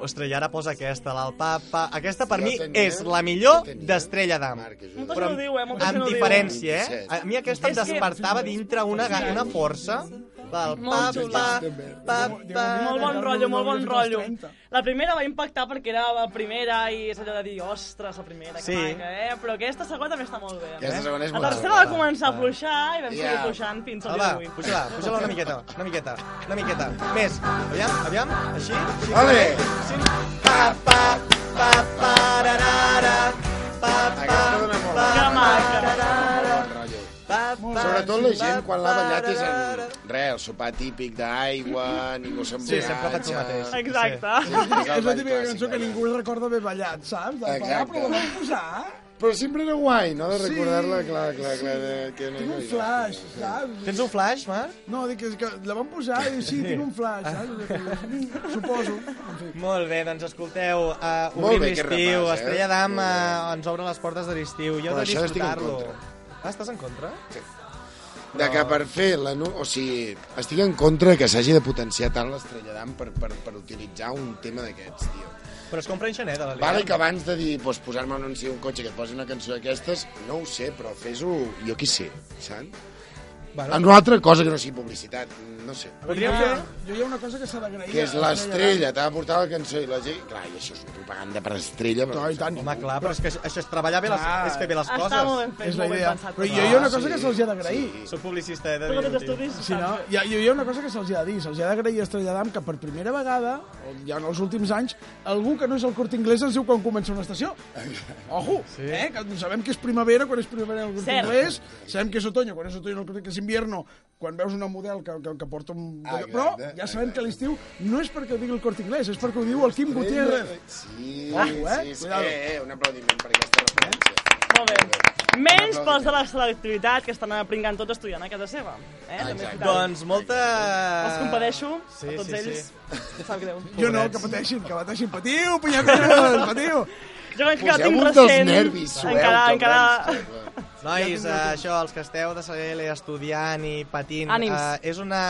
Speaker 3: Ostres, i ara posa aquesta, l'alpapa. Aquesta per
Speaker 5: Jo
Speaker 3: mi
Speaker 5: tenia-
Speaker 3: és la millor
Speaker 5: jo tenia-
Speaker 3: d'Estrella d'Am.
Speaker 5: Marc, ajuda.
Speaker 2: Molta gent ho diu, eh? Molta gent
Speaker 3: Amb
Speaker 2: ho diu.
Speaker 3: diferència, eh?
Speaker 5: 27.
Speaker 3: A mi aquesta em
Speaker 2: És que-
Speaker 3: despertava dintre una, ga- una força. Del pa,
Speaker 2: Molt xula.
Speaker 3: pa, pa, pa,
Speaker 2: Molt bon rotllo, molt bon rotllo.
Speaker 6: 30.
Speaker 2: La primera va impactar perquè era la primera i és allò de dir, ostres, la primera, que
Speaker 3: Sí.
Speaker 2: maca, eh? Però aquesta segona també està molt bé. eh?
Speaker 5: Aquesta segona és
Speaker 2: La
Speaker 5: bona. Ah.
Speaker 2: tercera va començar a fluixar i vam seguir
Speaker 5: Ja.
Speaker 2: fluixant fins al
Speaker 3: Ah,
Speaker 2: dia
Speaker 3: va,
Speaker 2: d'avui.
Speaker 3: puja-la, puja-la una miqueta, una miqueta, una miqueta. Més, aviam, aviam, així. així
Speaker 5: Ole!
Speaker 3: així. Pa, pa, pa, pa, ra, ra, ra. Pa, pa,
Speaker 5: Aquesta dona molt
Speaker 3: pa,
Speaker 2: Que maca.
Speaker 3: pa, ra, ra.
Speaker 5: Bon rotllo.
Speaker 3: Pa, pa,
Speaker 5: Sobretot la gent,
Speaker 3: pa,
Speaker 5: quan l'ha
Speaker 3: pa,
Speaker 5: ballat, és
Speaker 3: ra, ra,
Speaker 5: en...
Speaker 3: ra.
Speaker 5: Res, el sopar típic d'aigua, ningú s'emborratxa...
Speaker 3: Sí, sempre faig el mateix.
Speaker 2: Exacte.
Speaker 6: [LAUGHS] És la típica cançó que ningú recorda haver ballat, saps? De parar,
Speaker 5: Exacte.
Speaker 6: però la van posar.
Speaker 5: Però sempre era guai, no?, de
Speaker 6: Sí,
Speaker 5: recordar-la, clar, clar, clar. eh, Que no
Speaker 6: Tinc un
Speaker 5: hi va.
Speaker 6: flash, saps?
Speaker 3: Tens un flash, Marc?
Speaker 6: No, dic que, que la van posar i sí, tinc un flash, saps? Suposo. En fi.
Speaker 3: Molt bé, doncs escolteu, uh,
Speaker 5: Molt
Speaker 3: obrim
Speaker 5: bé, aquest
Speaker 3: l'estiu,
Speaker 5: repàs, eh?
Speaker 3: Estrella d'Am
Speaker 5: Molt
Speaker 3: uh, ens obre les portes de l'estiu, i heu
Speaker 5: Però
Speaker 3: de
Speaker 5: això estic en
Speaker 3: disfrutar-lo.
Speaker 5: contra.
Speaker 3: Ah, estàs en contra?
Speaker 5: De que per fer la... nu- O sigui, estic en contra que s'hagi de potenciar tant l'estrella d'am per, per, per utilitzar un tema d'aquests, tio.
Speaker 3: Però es compra en Xaneda, l'Adrià.
Speaker 5: Vale, que abans de dir, doncs, posar-me un anunci d'un cotxe que et posi una cançó d'aquestes, no ho sé, però fes-ho, jo qui sé, saps?
Speaker 6: Bueno.
Speaker 5: En una altra cosa que no sigui publicitat, no sé.
Speaker 3: Podríem
Speaker 6: Jo hi ha-
Speaker 3: fer...
Speaker 6: Ah, Jo hi ha una cosa que s'ha d'agrair.
Speaker 5: Que és
Speaker 6: a-
Speaker 5: l'estrella, t'ha de portar la cançó i la gent... Clar, i això és propaganda per estrella. Però...
Speaker 6: No, i tant.
Speaker 3: Home, clar, però és que això és treballar bé, les,
Speaker 6: Clar.
Speaker 3: és fer bé les
Speaker 2: Està molt ben
Speaker 3: coses.
Speaker 2: fet,
Speaker 6: És la
Speaker 2: molt ben
Speaker 6: idea.
Speaker 2: pensat.
Speaker 6: Però
Speaker 2: tot.
Speaker 6: jo hi ha una
Speaker 5: Ah,
Speaker 6: cosa
Speaker 5: sí,
Speaker 6: que se'ls hi ha d'agrair.
Speaker 5: sí.
Speaker 3: Soc publicista, he de
Speaker 2: Tots
Speaker 3: dir.
Speaker 2: aquests
Speaker 3: tio.
Speaker 2: estudis...
Speaker 6: Si no, hi ha, hi ha una cosa que se'ls hi ha de dir, se'ls hi ha d'agrair a Estrella d'Am que per primera vegada, o ja en els últims anys, algú que no és el Corte Inglés ens diu quan comença una estació. Ojo, sí. eh? que sabem que és primavera quan és primavera en el Corte
Speaker 2: Cert.
Speaker 6: Inglés, sabem que és otoño quan és otoño en el Corte Inglés, invierno quan veus una model que, que, que porta un...
Speaker 5: Ah,
Speaker 6: Però
Speaker 5: exacte,
Speaker 6: ja sabem que a l'estiu no és perquè ho digui el Corte Inglés, és perquè ho diu el Quim Gutiérrez.
Speaker 5: eh, Sí,
Speaker 6: Ojo,
Speaker 5: sí,
Speaker 6: eh?
Speaker 5: sí, sí.
Speaker 6: Cuidado.
Speaker 5: Eh, eh, un aplaudiment per aquesta referència.
Speaker 2: Molt bé. Menys pels de la selectivitat que estan pringant tots estudiant a casa seva. Eh? També és
Speaker 5: Exacte.
Speaker 2: veritat.
Speaker 3: Doncs molta...
Speaker 2: Els compadeixo,
Speaker 3: Sí,
Speaker 2: a tots
Speaker 3: sí,
Speaker 2: ells. Em sap greu.
Speaker 6: Jo no, que pateixin, que pateixin. Patiu, punyeteros, patiu!
Speaker 2: Jo crec que
Speaker 5: Poseu
Speaker 2: tinc
Speaker 5: un dels
Speaker 2: recent...
Speaker 5: nervis, sueu.
Speaker 2: encara,
Speaker 5: que
Speaker 2: encara...
Speaker 5: abans, clar, clar.
Speaker 3: Nois, eh, això, els que esteu de CL estudiant i patint,
Speaker 2: Ànims.
Speaker 3: eh, és, una,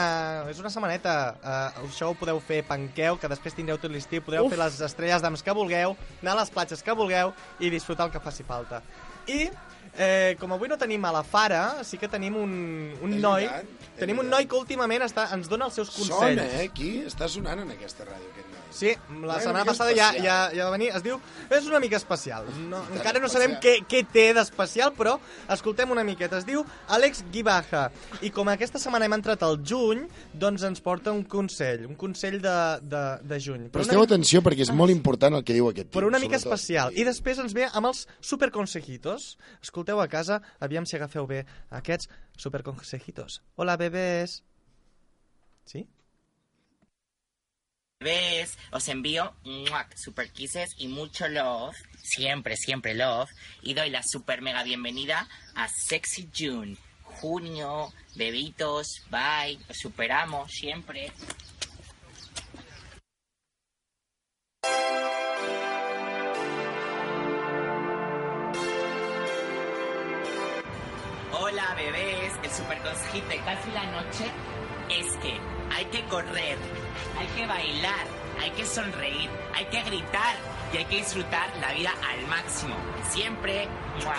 Speaker 3: és una setmaneta. Eh, això ho podeu fer, panqueu, que després tindreu tot l'estiu. Podeu
Speaker 2: Uf.
Speaker 3: fer les estrelles d'ams que vulgueu, anar a les platges que vulgueu i disfrutar el que faci falta. I, eh, com avui no tenim a la Fara, sí que tenim un, un
Speaker 5: És
Speaker 3: noi...
Speaker 5: veritat, és
Speaker 3: tenim un
Speaker 5: veritat.
Speaker 3: noi que últimament està, ens dona els seus consells.
Speaker 5: Sona, eh? Aquí està sonant en aquesta ràdio, aquest noi.
Speaker 3: Sí, la
Speaker 5: Una
Speaker 3: setmana
Speaker 5: mica
Speaker 3: passada ja,
Speaker 5: especial.
Speaker 3: ja, ja va venir, es diu... És una mica especial. No, encara no
Speaker 5: especial.
Speaker 3: sabem què, què té d'especial, però escoltem una miqueta. Es diu Àlex Guibaja. I com aquesta setmana hem entrat al juny, doncs ens porta un consell, un consell de, de, de juny.
Speaker 5: Però
Speaker 3: una
Speaker 5: esteu
Speaker 3: mi-
Speaker 5: atenció perquè és molt important el que diu aquest tio.
Speaker 3: però una mica
Speaker 5: sobretot.
Speaker 3: especial. I després ens ve amb els superconsejitos. Escolteu a casa, aviam si agafeu bé aquests superconsejitos. Hola, bebès. Sí?
Speaker 10: Bebés, os envío ¡muac! super kisses y mucho love, siempre, siempre love, y doy la super mega bienvenida a Sexy June. Junio, bebitos, bye, os superamos siempre. Hola bebés, el super consejito de casi la noche es que hay que correr, hay que bailar, hay que sonreír, hay que gritar y hay que disfrutar la vida al máximo. Siempre. ¡mua!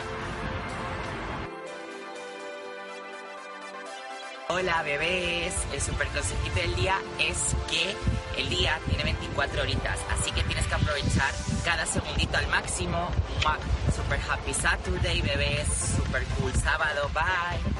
Speaker 10: Hola bebés, el super consejito del día es que el día tiene 24 horitas, así que tienes que aprovechar cada segundito al máximo. ¡Mua! Super happy Saturday bebés, super cool sábado, bye.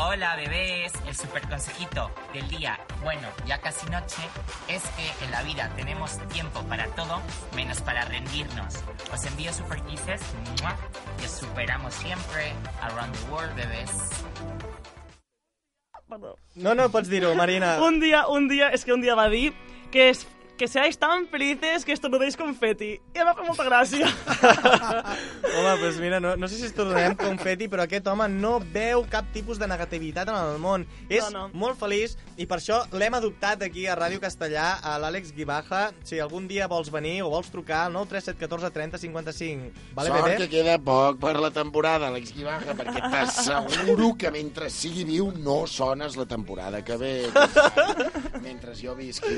Speaker 10: Hola bebés, el super consejito del día, bueno, ya casi noche, es que en la vida tenemos tiempo para todo menos para rendirnos. Os envío super kisses, ¡mua! y os superamos siempre. Around the world, bebés.
Speaker 2: Perdó.
Speaker 3: No, no, pots dir-ho, Marina.
Speaker 5: [LAUGHS]
Speaker 2: Un dia, un dia, és que un dia va dir que és que seáis tan felices que estornudéis confeti. I em va fer molta gràcia.
Speaker 3: Home, doncs mira, no, no sé si es tornarem confeti, però aquest home no veu cap tipus de negativitat en el món. És
Speaker 2: no.
Speaker 3: molt feliç i per això l'hem adoptat aquí a Ràdio Castellà, a l'Àlex Guibaja. Si algun dia vols venir o vols trucar al 937 14 30 55. Vale,
Speaker 5: Sort que
Speaker 3: bebé?
Speaker 5: queda poc per la temporada, Alex Guibaja, perquè t'asseguro que mentre sigui viu no sones la temporada que ve.
Speaker 3: [LAUGHS]
Speaker 5: company. Mentre jo visqui...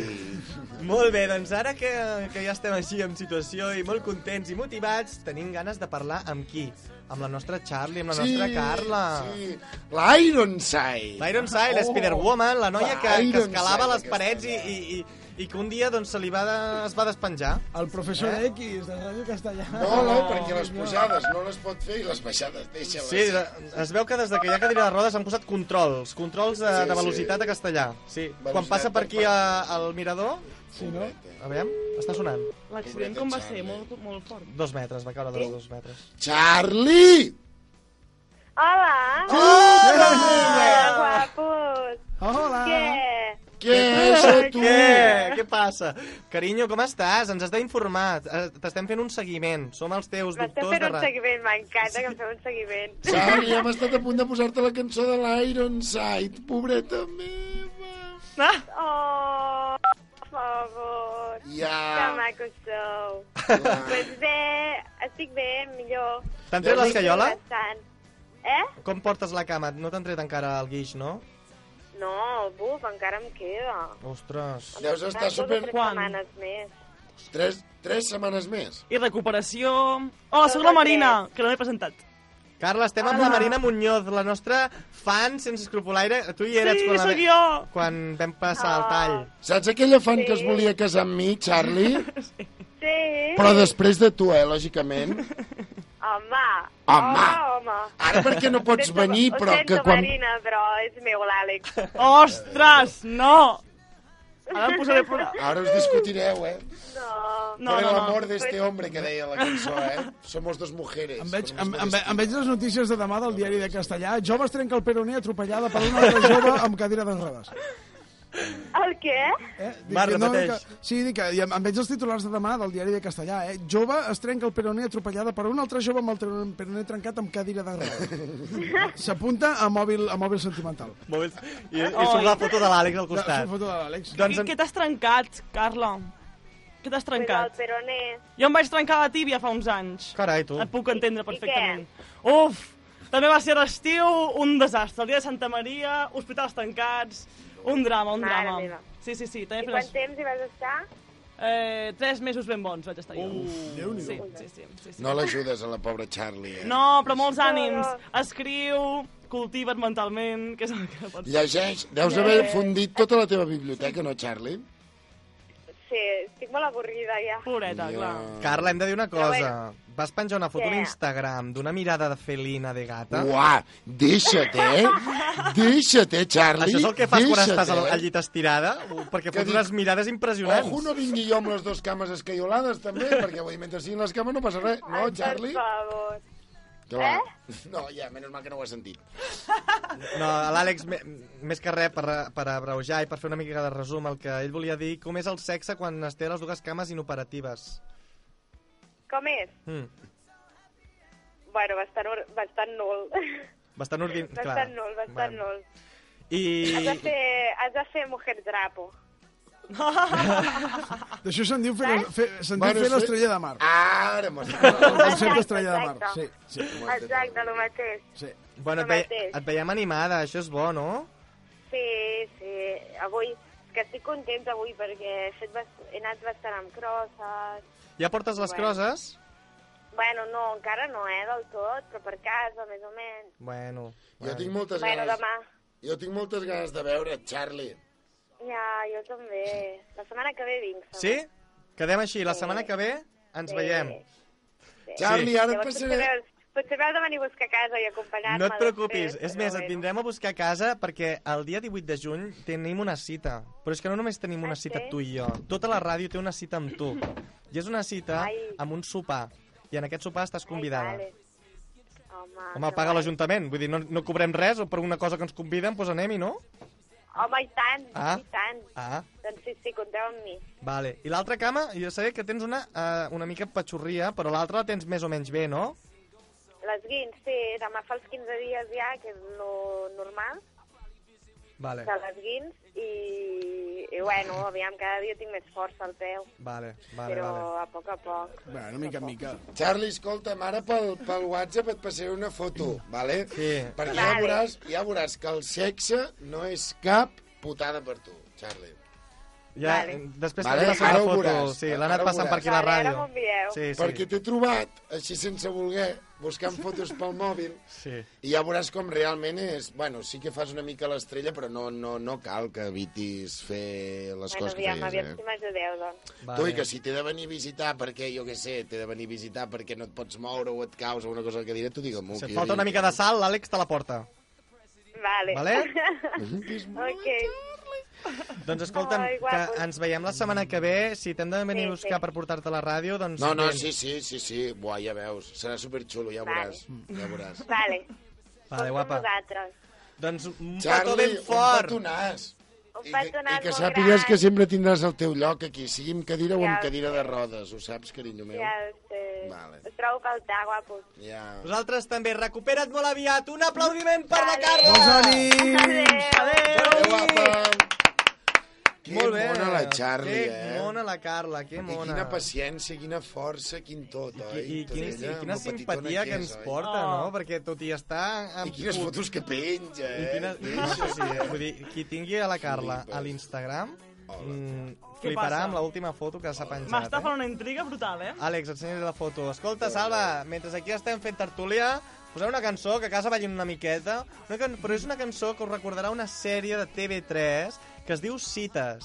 Speaker 3: Molt bé, doncs ara que, que ja estem així en situació i molt contents i motivats, tenim ganes de parlar amb qui? Amb la nostra Charlie, amb la nostra Carla.
Speaker 5: Sí, la Ironside.
Speaker 3: L'Ironside, oh, l'Spider-Woman, la noia que, que
Speaker 5: Ironside,
Speaker 3: escalava les
Speaker 5: aquesta
Speaker 3: parets i, i, i, i que un dia doncs, se li va de, es va despenjar.
Speaker 6: El professor X de Ràdio Castellà.
Speaker 5: Eh? No, no, perquè les pujades no les pot fer i les baixades deixa-les.
Speaker 3: Sí, es veu que des de que hi ha cadira de rodes han posat controls, controls de,
Speaker 5: Sí,
Speaker 3: de
Speaker 5: sí.
Speaker 3: velocitat a castellà. Sí. Quan
Speaker 5: Velocitat
Speaker 3: passa per
Speaker 5: per
Speaker 3: aquí a, al mirador,
Speaker 6: Sí, no?
Speaker 3: a veure, està sonant.
Speaker 2: [LAUGHS] L'accident com va ser? Molt, molt fort.
Speaker 3: Dos metres, va caure dels dos metres.
Speaker 5: Charlie!
Speaker 3: Ah.
Speaker 10: Hola, guapos.
Speaker 6: Hola!
Speaker 3: Ah.
Speaker 5: Què és això, tu?
Speaker 3: Què? Què passa? Carinyo, com estàs? Ens has d'informar. Eh, T'estem fent un seguiment. Som els teus doctors de ràdio.
Speaker 10: seguiment, m'encanta que em feu un seguiment.
Speaker 5: Charlie, hem estat a punt de posar-te la cançó de l'Ironside, pobreta meva.
Speaker 2: Ah,
Speaker 10: Oh, per favor.
Speaker 5: Ja,
Speaker 10: macos sou.
Speaker 5: clar.
Speaker 10: bé, estic bé, millor.
Speaker 3: T'han tret l'escaiola?
Speaker 10: Bastant. Eh?
Speaker 3: Com portes la cama? No t'han tret encara el guix, no?
Speaker 10: No, buf, encara em queda.
Speaker 3: Ostres.
Speaker 5: Deus estar super...
Speaker 2: Quan?
Speaker 10: setmanes més.
Speaker 5: Tres, tres setmanes més.
Speaker 2: I recuperació... Oh, sóc la Marina, que no m'he presentat.
Speaker 3: Carla, estem amb
Speaker 2: Hola.
Speaker 3: la Marina Muñoz, la nostra fan sense escrupulaire. Tu hi eres
Speaker 2: Sí,
Speaker 3: quan, la...
Speaker 2: sóc jo.
Speaker 3: quan vam passar el tall.
Speaker 5: Saps aquella fan que es
Speaker 11: Sí.
Speaker 5: volia casar amb mi, Charlie?
Speaker 11: Sí.
Speaker 5: Però després de tu, eh, lògicament.
Speaker 11: Home.
Speaker 5: Home.
Speaker 11: home.
Speaker 5: Ara perquè no pots
Speaker 11: Ho sento,
Speaker 5: venir, però
Speaker 11: Ho sento,
Speaker 5: que quan...
Speaker 11: Marina, però és meu l'Àlex.
Speaker 2: Ostres, no! Ara em posaré... plora-
Speaker 5: Ara us discutireu, eh?
Speaker 11: No.
Speaker 2: No,
Speaker 5: Por el
Speaker 2: no, no.
Speaker 5: amor de este hombre que deia la cançó, eh? Somos dos mujeres. Em veig,
Speaker 6: Em, em, ve- em veig les notícies de demà del diari de castellà. Joves trenca el peroné atropellada per una altra jove amb cadira de rodes.
Speaker 11: El què?
Speaker 3: [LAUGHS]
Speaker 6: Eh? Dic
Speaker 3: Va,
Speaker 6: que
Speaker 3: repeteix.
Speaker 6: que, sí, dic que i em, em veig els titulars de demà del diari de castellà. Eh? Jove es trenca el peroné atropellada per una altra jove amb el tren- peroné trencat amb cadira de rodes. S'apunta a mòbil, a mòbil sentimental.
Speaker 3: [LAUGHS] Mòbils. I, i surt la foto de l'Àlex al
Speaker 6: Ja,
Speaker 3: costat.
Speaker 6: foto de l'Àlex.
Speaker 3: Doncs
Speaker 2: Què,
Speaker 3: en...
Speaker 2: què t'has trencat, Carla? Què t'has
Speaker 11: Trencat. Pues
Speaker 2: trencat?
Speaker 11: el peroné.
Speaker 2: Jo em vaig trencar la tíbia fa uns anys.
Speaker 3: Carai, tu.
Speaker 2: Et puc entendre perfectament. Uf! També va ser l'estiu un desastre. El dia de Santa Maria, hospitals tancats... Un drama, un
Speaker 11: Mare
Speaker 2: drama.
Speaker 11: meva.
Speaker 2: Sí, sí, sí.
Speaker 11: I
Speaker 2: També
Speaker 11: quant
Speaker 2: fes...
Speaker 11: temps hi vas estar?
Speaker 2: Eh, tres mesos ben bons vaig estar jo.
Speaker 6: déu
Speaker 2: sí, sí, sí, sí, sí.
Speaker 5: No l'ajudes a la pobra Charlie, eh?
Speaker 2: No, però molts ànims.
Speaker 11: No,
Speaker 2: Escriu, cultiva't mentalment, que és el que pots
Speaker 5: Llegeix. Deus haver fundit tota la teva biblioteca, no, Charlie?
Speaker 11: Sí, estic molt avorrida ja.
Speaker 2: Pobreta,
Speaker 5: Ja.
Speaker 2: clar.
Speaker 3: Carla, hem de dir una
Speaker 11: Però
Speaker 3: cosa. Vas penjar una foto a
Speaker 11: Què?
Speaker 3: l'Instagram d'una mirada de felina de gata.
Speaker 5: Uà, deixa't,
Speaker 11: [LAUGHS]
Speaker 5: eh? Deixa't, eh, Charlie?
Speaker 3: Això és el que fas quan
Speaker 5: Deixa't,
Speaker 3: estàs al,
Speaker 5: eh?
Speaker 3: al llit estirada, perquè
Speaker 5: Què
Speaker 3: fots
Speaker 5: dic?
Speaker 3: unes mirades impressionants.
Speaker 5: Ojo, no vingui jo amb les dues cames escaiolades,
Speaker 3: [LAUGHS]
Speaker 5: també, perquè vull dir, mentre siguin les cames no passa res. No, Oh, Charlie?
Speaker 11: Per favor. eh?
Speaker 5: Que va. No, ja, menys mal que no ho has sentit.
Speaker 3: No, a l'Àlex, me- més que res, per, per abreujar i per fer una mica de resum, el que ell volia dir, com és el sexe quan es té les dues cames inoperatives.
Speaker 11: Com és?
Speaker 3: Mm.
Speaker 11: Bueno, bastant, or- bastant nul. [LAUGHS]
Speaker 3: Bastant ordin...
Speaker 11: Bastant nul, bastant
Speaker 3: Bueno.
Speaker 11: nul. [LAUGHS] Has de
Speaker 3: I...
Speaker 11: fer, has de fer mujer drapo.
Speaker 6: D'això se'n diu fer, fer, se'n diu
Speaker 5: Bueno,
Speaker 6: fer
Speaker 5: sí.
Speaker 6: l'estrella de mar.
Speaker 5: Ah, Ara m'has
Speaker 6: El
Speaker 5: acabat.
Speaker 6: concepte estrella de mar. Sí,
Speaker 11: exacte.
Speaker 6: sí,
Speaker 11: Exacte, el mateix.
Speaker 6: sí.
Speaker 3: Bueno, et,
Speaker 11: el
Speaker 3: veia,
Speaker 11: mateix.
Speaker 3: et veiem animada, això és bo, no?
Speaker 11: Sí, sí. Avui, és que estic contenta avui perquè he, fet bast... he anat bastant amb crosses.
Speaker 3: Ja portes les
Speaker 11: Bueno.
Speaker 3: crosses?
Speaker 11: Bueno, no, encara no, eh, del tot, però per casa, més o menys.
Speaker 3: Bueno.
Speaker 5: Jo
Speaker 3: bueno.
Speaker 5: tinc moltes
Speaker 11: Bueno,
Speaker 5: ganes.
Speaker 11: demà.
Speaker 5: Jo tinc moltes ganes de veure't, Charlie.
Speaker 11: Ja, jo també. La setmana que ve vinc. segur.
Speaker 3: Sí? Quedem així, la setmana que ve ens
Speaker 11: Sí.
Speaker 3: veiem.
Speaker 5: Charlie, ara et
Speaker 11: Llavors, potser,
Speaker 5: passaré...
Speaker 11: veus, potser m'heu de venir a buscar a casa i acompanyar-me.
Speaker 3: No et preocupis,
Speaker 11: després,
Speaker 3: és més,
Speaker 11: però
Speaker 3: et
Speaker 11: bueno.
Speaker 3: vindrem a buscar a casa perquè el dia 18 de juny tenim una cita. Però és que no només tenim una
Speaker 11: Ah,
Speaker 3: cita
Speaker 11: sí?
Speaker 3: tu i jo, tota la ràdio té una cita amb tu. I és una cita
Speaker 11: Ai.
Speaker 3: amb un sopar. I en aquest sopar estàs convidada.
Speaker 11: Ai, Ah, vale. Home,
Speaker 3: Home,
Speaker 11: que
Speaker 3: paga
Speaker 11: guai.
Speaker 3: l'Ajuntament, vull dir, no, no cobrem res o per una cosa que ens conviden, doncs anem-hi, no?
Speaker 11: Home, i tant,
Speaker 3: Ah.
Speaker 11: i tant.
Speaker 3: Ah,
Speaker 11: Doncs sí, sí, compteu amb mi.
Speaker 3: vale. I l'altra cama, jo sé que tens una, uh, una mica patxorria, però l'altra la tens més o menys bé, no?
Speaker 11: Les guins, sí, demà fa els 15 dies ja, que és lo normal,
Speaker 3: Vale,
Speaker 11: de les guins, i, i bueno, aviam, cada dia tinc més força al peu,
Speaker 3: vale, vale,
Speaker 11: però
Speaker 3: vale.
Speaker 11: a poc a poc.
Speaker 6: Bueno, mica en mica.
Speaker 5: Charlie, escolta'm, ara pel, pel WhatsApp et passaré una foto, vale?
Speaker 3: Sí.
Speaker 5: Perquè ja
Speaker 11: Vale.
Speaker 5: veuràs, ja veuràs que el sexe no és cap putada per tu, Charlie.
Speaker 3: Ja, eh,
Speaker 11: Vale.
Speaker 3: després
Speaker 5: Vale,
Speaker 3: vale, t'he passat
Speaker 5: ara
Speaker 3: la
Speaker 5: ho
Speaker 3: foto.
Speaker 5: veuràs,
Speaker 3: sí, l'ha
Speaker 5: ara
Speaker 3: anat
Speaker 5: ho
Speaker 3: passant per
Speaker 5: veuràs.
Speaker 3: aquí a la
Speaker 11: Vale, ara
Speaker 3: ràdio.
Speaker 11: m'envieu.
Speaker 3: Sí,
Speaker 5: Sí.
Speaker 3: sí.
Speaker 5: Perquè t'he trobat, així sense voler, buscant fotos pel mòbil,
Speaker 3: [LAUGHS] Sí.
Speaker 5: i ja veuràs com realment és... Bueno, sí que fas una mica l'estrella, però no, no, no cal que evitis fer les
Speaker 11: Bueno,
Speaker 5: coses que
Speaker 11: aviam, aviam
Speaker 5: feies,
Speaker 11: si
Speaker 5: eh?
Speaker 11: m'ajudeu, doncs.
Speaker 5: Tu, i que si t'he de venir a visitar perquè, jo què sé, t'he de venir a visitar perquè no et pots moure o et caus o una cosa que diré, tu digue-m'ho.
Speaker 3: Si
Speaker 5: que
Speaker 3: et
Speaker 5: jo
Speaker 3: falta una
Speaker 5: vinc.
Speaker 3: mica de sal, l'Àlex te la porta.
Speaker 11: Vale.
Speaker 3: Vale?
Speaker 11: [LAUGHS] ok.
Speaker 3: Doncs escolta'm,
Speaker 11: Ai,
Speaker 3: que
Speaker 11: guapos.
Speaker 3: ens veiem la setmana que ve. Si t'hem de venir
Speaker 11: Sí,
Speaker 3: a buscar
Speaker 11: sí.
Speaker 3: per portar-te a la ràdio, doncs...
Speaker 5: No, no,
Speaker 3: vens.
Speaker 5: sí, sí, sí, sí. Buah, ja veus. Serà superxulo, ja ho
Speaker 11: Vale.
Speaker 5: veuràs. Ja ho veuràs.
Speaker 11: Vale.
Speaker 3: Vale,
Speaker 11: Compto amb
Speaker 3: guapa.
Speaker 11: Vosaltres.
Speaker 3: Doncs un petó
Speaker 5: Charlie,
Speaker 3: ben
Speaker 5: un
Speaker 3: fort.
Speaker 5: petonàs.
Speaker 11: Un
Speaker 5: I, que,
Speaker 11: petonat
Speaker 5: I que
Speaker 11: molt
Speaker 5: sàpigues
Speaker 11: gran.
Speaker 5: que sempre tindràs el teu lloc aquí, sigui amb cadira o
Speaker 11: Ja
Speaker 5: amb
Speaker 11: ho
Speaker 5: cadira
Speaker 11: sé.
Speaker 5: de rodes, ho saps, carinyo meu?
Speaker 11: Ja ho sé.
Speaker 5: Vale.
Speaker 11: Us trobo a faltar, guapos.
Speaker 5: Ja.
Speaker 3: Vosaltres també. Recupera't molt aviat. Un aplaudiment per la
Speaker 11: Vale.
Speaker 3: Carla.
Speaker 6: Molts ànims!
Speaker 11: Adéu.
Speaker 5: Adéu, guapa! Que
Speaker 3: Molt bé.
Speaker 5: mona la Charlie,
Speaker 3: que
Speaker 5: eh?
Speaker 3: mona la Carla, que
Speaker 5: I
Speaker 3: mona.
Speaker 5: quina paciència, quina força, quin tot, oi?
Speaker 3: I, i,
Speaker 5: Tot
Speaker 3: quina, i
Speaker 5: ella,
Speaker 3: quina
Speaker 5: lo petitona
Speaker 3: simpatia que
Speaker 5: és,
Speaker 3: ens
Speaker 5: oi?
Speaker 3: porta,
Speaker 2: Oh.
Speaker 3: no? Perquè tot i estar...
Speaker 5: I quines fotos que penja,
Speaker 3: I
Speaker 5: eh?
Speaker 3: quina... [LAUGHS] Sí, sí, eh? Vull dir, qui tingui a la Carla
Speaker 5: Flipes.
Speaker 3: a l'Instagram mm,
Speaker 2: Què
Speaker 3: fliparà
Speaker 2: passa?
Speaker 3: amb l'última foto que s'ha penjat.
Speaker 2: M'està
Speaker 3: Eh?
Speaker 2: fent una intriga brutal, eh?
Speaker 3: Àlex, ensenyaré la foto. Escolta, Salva, mentre aquí estem fent tertúlia, Posaré una cançó que a casa ballin una miqueta, una can... però és una cançó que us recordarà una sèrie de TV3 que es diu Cites.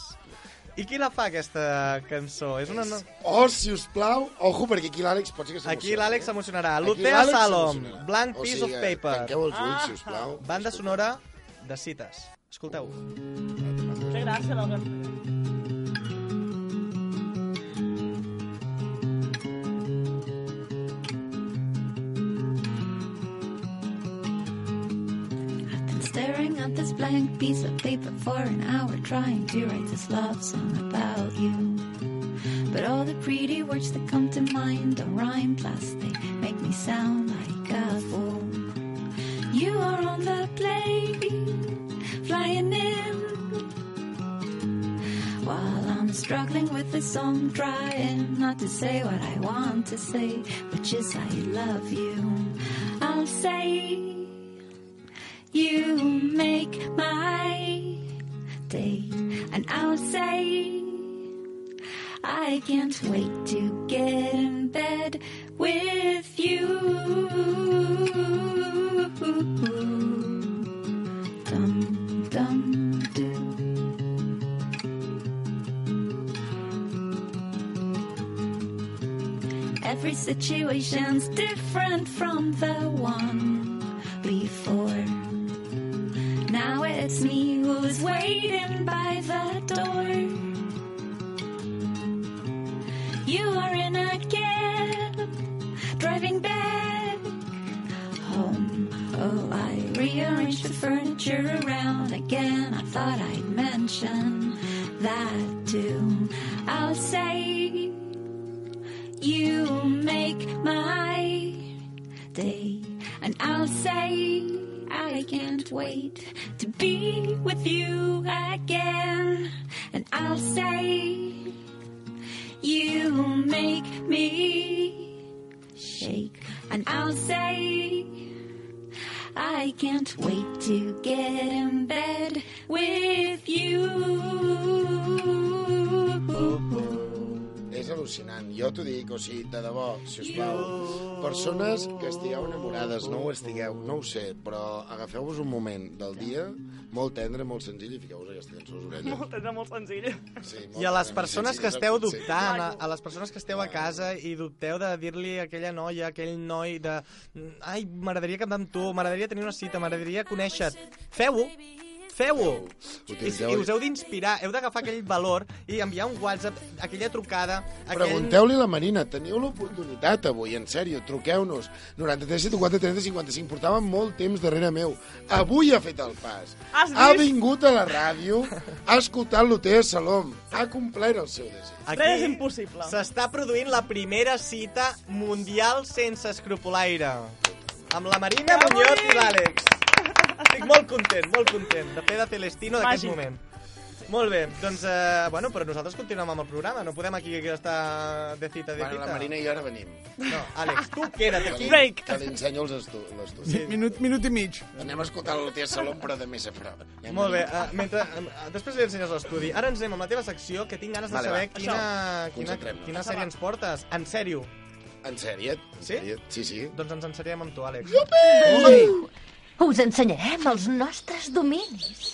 Speaker 3: I qui la fa, aquesta cançó? És una...
Speaker 5: Oh, si us plau, ojo, perquè aquí l'Àlex pot ser que s'emocioni.
Speaker 3: Aquí l'Àlex s'emocionarà.
Speaker 5: eh? Aquí
Speaker 3: Lutea
Speaker 5: l'Àlex
Speaker 3: Salom,
Speaker 5: s'emocionarà.
Speaker 3: Blank
Speaker 5: O
Speaker 3: Piece
Speaker 5: sigui,
Speaker 3: of Paper.
Speaker 5: Tanqueu els ulls, si us plau.
Speaker 3: Banda sonora de Cites. Escolteu.
Speaker 2: Que gràcia, la
Speaker 12: Been staring at this blank piece of paper for an hour, trying to write this love song about you. But all the pretty words that come to mind don't rhyme, plus they make me sound like a fool. You are on the plane, flying in. While I'm struggling with this song, trying not to say what I want to say, which is I love you. I'll say. You make my day, and I'll say, I can't wait to get in bed with you. Dum, dum, dum. Every situation's different from the one before. Now it's me who's waiting by the door. You are in a cab, driving back home. Oh, I rearranged the furniture around again. I thought I'd mention that too. I'll say, You make my day, and I'll say, I can't wait to be with you again. And I'll say, You make me shake. And I'll say, I can't wait to get in bed with you.
Speaker 5: És al·lucinant, jo t'ho dic, o sigui, de debò, si us plau, persones que estigueu enamorades, no ho estigueu, no ho sé, però agafeu-vos un moment del dia, molt tendre, molt senzill, i fiqueu-vos aquesta cançó a les orelles.
Speaker 2: Molt, era molt senzill.
Speaker 5: Sí,
Speaker 3: I a les persones que esteu
Speaker 5: sí, sí.
Speaker 3: dubtant, a, a les persones que esteu a casa i dubteu de dir-li a aquella noia, a aquell noi de... "Mm, Ai, m'agradaria quedar amb tu, m'agradaria tenir una cita, m'agradaria conèixer-te. Feu-ho! Feu-ho! I,
Speaker 5: Utilitzeu-
Speaker 3: I us heu d'inspirar, heu d'agafar aquell valor i enviar un WhatsApp, aquella trucada, aquell...
Speaker 5: Pregunteu-li a la Marina, teniu l'oportunitat avui, en sèrio, truqueu-nos. 93 74 30 55, portava molt temps darrere meu. Avui ha fet el pas.
Speaker 3: Has
Speaker 5: Ha
Speaker 3: vist?
Speaker 5: vingut a la ràdio, ha escoltat l'Otea Salom, ha complert el seu desig.
Speaker 2: Res és impossible.
Speaker 3: S'està produint la primera cita mundial sense escrupulaire. Amb la Marina
Speaker 2: Que
Speaker 3: Muñoz
Speaker 2: bonic!
Speaker 3: i l'Àlex. Estic molt content, molt content de fer de Celestino d'aquest
Speaker 2: Màgic.
Speaker 3: moment. Molt bé, doncs, eh, bueno, però nosaltres continuem amb el programa, no podem aquí estar de cita de
Speaker 5: Bueno,
Speaker 3: cita.
Speaker 5: la Marina i jo ara venim.
Speaker 3: No, Àlex, tu queda't aquí.
Speaker 5: Que li ensenyo els estu- l'estudi.
Speaker 3: Sí.
Speaker 6: Minut, minut i mig.
Speaker 5: Anem a escoltar l'Otea Salom, però de més a prop. Anem
Speaker 3: Molt bé,
Speaker 5: a-
Speaker 3: uh, mentre, uh, després li ensenyes l'estudi. Ara ens anem amb la teva secció, que tinc ganes de
Speaker 5: Vale,
Speaker 3: saber
Speaker 5: va.
Speaker 3: quina,
Speaker 5: Això.
Speaker 3: quina,
Speaker 5: Concentrem-nos.
Speaker 3: quina sèrie ens portes. En sèrio.
Speaker 5: En sèrie?
Speaker 3: Sí?
Speaker 5: Sí, sí.
Speaker 3: Doncs ens ensariem amb tu, Àlex.
Speaker 13: Ui! Us ensenyarem els nostres dominis.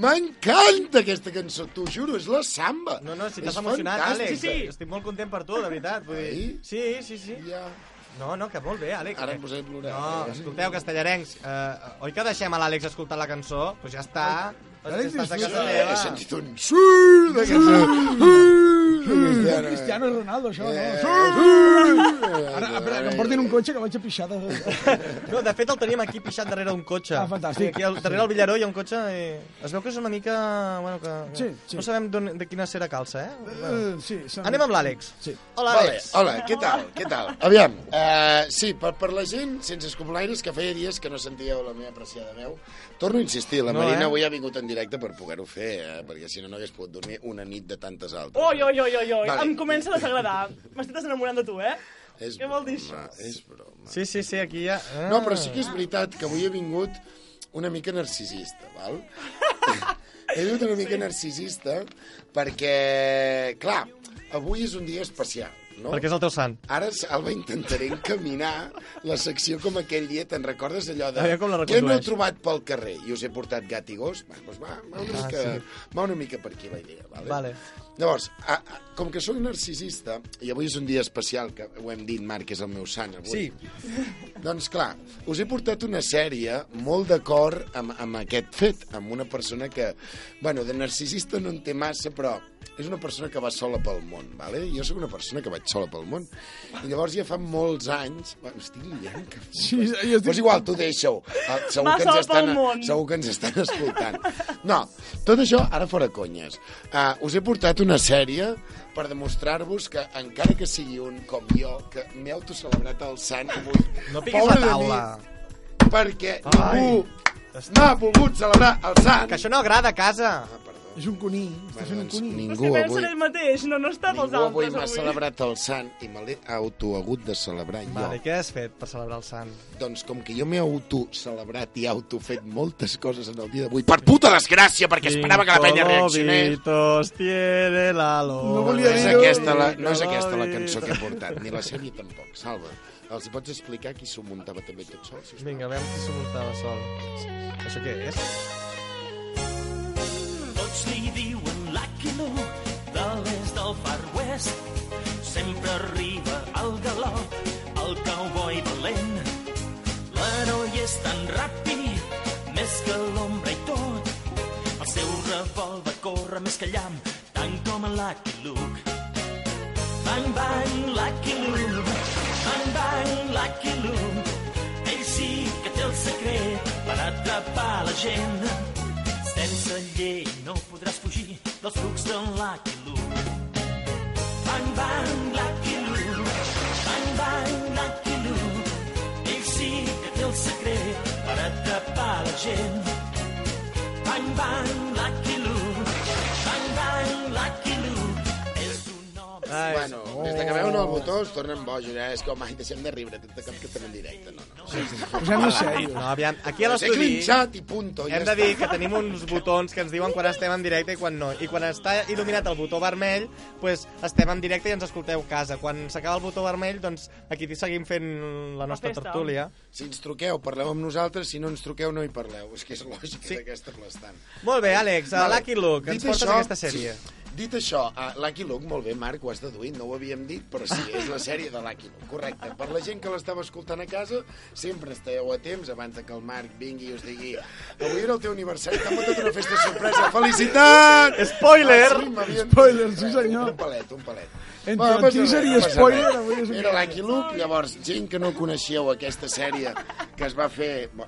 Speaker 5: M'encanta aquesta cançó, t'ho juro, és la samba.
Speaker 3: No, no, si t'has
Speaker 5: És
Speaker 3: emocionat,
Speaker 5: fantàstic.
Speaker 3: Àlex. Estic molt content per tu, de veritat. Vull dir... Sí, sí, sí.
Speaker 5: Ja.
Speaker 3: No, no, que molt bé, Àlex.
Speaker 5: Ara
Speaker 3: eh?
Speaker 5: em posaré a plorar.
Speaker 3: No, escolteu, castellarencs, eh, oi que deixem a l'Àlex escoltar la cançó? Doncs pues ja està.
Speaker 5: Àlex,
Speaker 3: Estàs a
Speaker 5: dius,
Speaker 3: casa
Speaker 5: "Sí,
Speaker 3: teva.
Speaker 5: he sentit un sí de casa".
Speaker 6: És
Speaker 5: Cristiano. eh.
Speaker 6: Cristiano Ronaldo, això, no? Sí! Ara, espera, que em portin un cotxe que vaig a pixar
Speaker 5: [LAUGHS]
Speaker 6: de...
Speaker 3: No, de fet el tenim aquí pixat darrere un cotxe.
Speaker 6: Ah, fantàstic.
Speaker 3: Aquí al, darrere el Villaró hi ha un cotxe i es veu que és una mica... Bueno, que...
Speaker 6: Sí, sí.
Speaker 3: No sabem d'on- de quina cera calça, eh?
Speaker 6: Eh, sí, sembla-
Speaker 3: Anem amb l'Àlex.
Speaker 6: Sí.
Speaker 3: Hola,
Speaker 5: Vale, ah.
Speaker 3: Àlex.
Speaker 5: hola, què tal? Què tal? Aviam, uh, sí, per, per la gent sense escomplaires que feia dies que no sentíeu la meva apreciada veu, torno a insistir, la
Speaker 1: No,
Speaker 5: no, Marina
Speaker 1: eh?
Speaker 5: eh? avui ha vingut en directe per poder-ho fer, eh? perquè si no, no hagués pogut dormir una nit de tantes altres.
Speaker 2: Oi, oi, oi, oi, oi.
Speaker 5: Vale.
Speaker 2: Em comença a desagradar. M'estic desenamorant de tu, eh?
Speaker 5: És
Speaker 2: Què vol dir això?
Speaker 5: broma, és broma.
Speaker 3: Sí, sí, sí, aquí ja... Ah.
Speaker 5: No, però sí que és veritat que avui he vingut una mica narcisista, val? he vingut una mica narcisista perquè, clar, avui és un dia especial, no?
Speaker 3: Perquè és el teu sant.
Speaker 5: Ara, Salva, intentaré encaminar la secció com aquell dia. Te'n recordes allò de...
Speaker 3: A veure com la
Speaker 5: Què m'heu
Speaker 3: recondueix.
Speaker 5: trobat pel carrer? I us he portat gat i gos? Va, doncs va, va, una,
Speaker 3: Ah,
Speaker 5: mica,
Speaker 3: sí.
Speaker 5: va una mica per aquí la idea. Vale?
Speaker 3: Vale.
Speaker 5: Llavors, a, a, com que sóc narcisista, i avui és un dia especial, que ho hem dit, Marc, és el meu sant avui. Sí. Doncs clar, us he portat una sèrie molt d'acord amb, amb aquest fet, amb una persona que, bueno, de narcisista no en té massa, però és una persona que va sola pel món, vale? Jo sóc una persona que vaig sola pel món. I llavors ja fa molts anys... Bueno, estic liant, que... Sí,
Speaker 6: estic...
Speaker 3: Doncs
Speaker 5: Però és igual, tu
Speaker 3: [LAUGHS]
Speaker 5: deixa-ho. Ah, Segur
Speaker 2: Va
Speaker 5: que, ens
Speaker 2: sola pel
Speaker 5: estan,
Speaker 2: món.
Speaker 5: segur que ens estan escoltant. No, tot això, ara fora conyes. Uh, us he portat una sèrie per demostrar-vos que, encara que sigui un com jo, que m'he autocelebrat el sant avui...
Speaker 3: No piquis la
Speaker 5: de mi,
Speaker 3: taula.
Speaker 5: Perquè
Speaker 3: Ai.
Speaker 5: ningú m'ha volgut celebrar el sant.
Speaker 3: Que això no agrada a casa.
Speaker 6: És un cuní.
Speaker 5: Bueno, doncs,
Speaker 2: Que
Speaker 5: ningú
Speaker 2: pensa
Speaker 5: avui,
Speaker 2: en ell mateix, no, no està pels
Speaker 5: ningú avui
Speaker 2: altres
Speaker 5: m'ha
Speaker 2: avui.
Speaker 5: celebrat el sant i me l'he autohagut de celebrar jo.
Speaker 3: Vale, què has fet per celebrar el sant?
Speaker 5: Doncs com que jo m'he autocelebrat i autofet moltes coses en el dia d'avui, per puta desgràcia, perquè esperava que la penya reaccionés.
Speaker 3: Colobitos tiene la lora.
Speaker 5: No, és aquesta la, no és aquesta la cançó que he portat, ni la sèrie tampoc. Salva, els hi pots explicar qui s'ho muntava també tot sol? Si us...
Speaker 3: Vinga, a veure qui s'ho muntava sol. Això què és?
Speaker 14: Tots li diuen l'Aquiló de l'est del Far West. Sempre arriba al galop el cowboy valent. L'heroi és tan ràpid, més que l'ombra i tot. El seu revòlver corre més que llamp, tant com en Lucky Luke. Bang, bang, Lucky Luke. Bang, bang, Lucky Luke. Ell sí que té el secret per atrapar la gent. Sense llei no podràs fugir dels trucs d'en Lucky Luke. Bang, bang, Lucky Luke. Bang, bang, Lucky Luke. Ell sí que té el secret per atrapar la gent. Bang, bang, Lucky Luke. Bang, bang, Lucky Luke. És un home...
Speaker 5: bueno,
Speaker 3: oh.
Speaker 5: des de que veuen el botó es tornen bojos, eh? És com, ai, deixem de riure, tant de cop que estem en directe. No, no.
Speaker 6: Posem-ho seriós.
Speaker 3: No, aviam, aquí a
Speaker 5: Us he
Speaker 3: l'estudi...
Speaker 5: clinxat i punto, ja
Speaker 3: Hem de
Speaker 5: està.
Speaker 3: dir que tenim uns botons que ens diuen quan estem en directe i quan no. I quan està il·luminat el botó vermell, pues, estem en directe i ens escolteu a casa. Quan s'acaba el botó vermell, doncs aquí seguim fent la nostra tertúlia.
Speaker 5: Si ens truqueu, parleu amb nosaltres, si no ens truqueu, no hi parleu. És que és lògic sí. d'aquesta plastant.
Speaker 3: Molt bé, Àlex, a Lucky Luke, ens
Speaker 5: Dit
Speaker 3: portes aquesta sèrie.
Speaker 5: Sí. Dit això, a Lucky Luke, molt bé, Marc, ho has deduït, no ho havíem dit, però sí, és la sèrie de Lucky Luke, correcte. Per la gent que l'estava escoltant a casa, sempre esteu a temps abans de que el Marc vingui i us digui avui era el teu aniversari, t'ha portat una festa sorpresa, felicitat!
Speaker 6: Spoiler!
Speaker 5: Ah, sí, m'havien-
Speaker 6: Spoiler, sí, senyor.
Speaker 5: Un palet, un palet.
Speaker 6: Entre
Speaker 5: Bueno, no passa
Speaker 6: teaser
Speaker 5: res,
Speaker 6: i
Speaker 5: no passa
Speaker 6: spoiler,
Speaker 5: res.
Speaker 6: avui és un
Speaker 5: Era Lucky Luke, llavors, gent que no coneixeu aquesta sèrie que es va fer bo,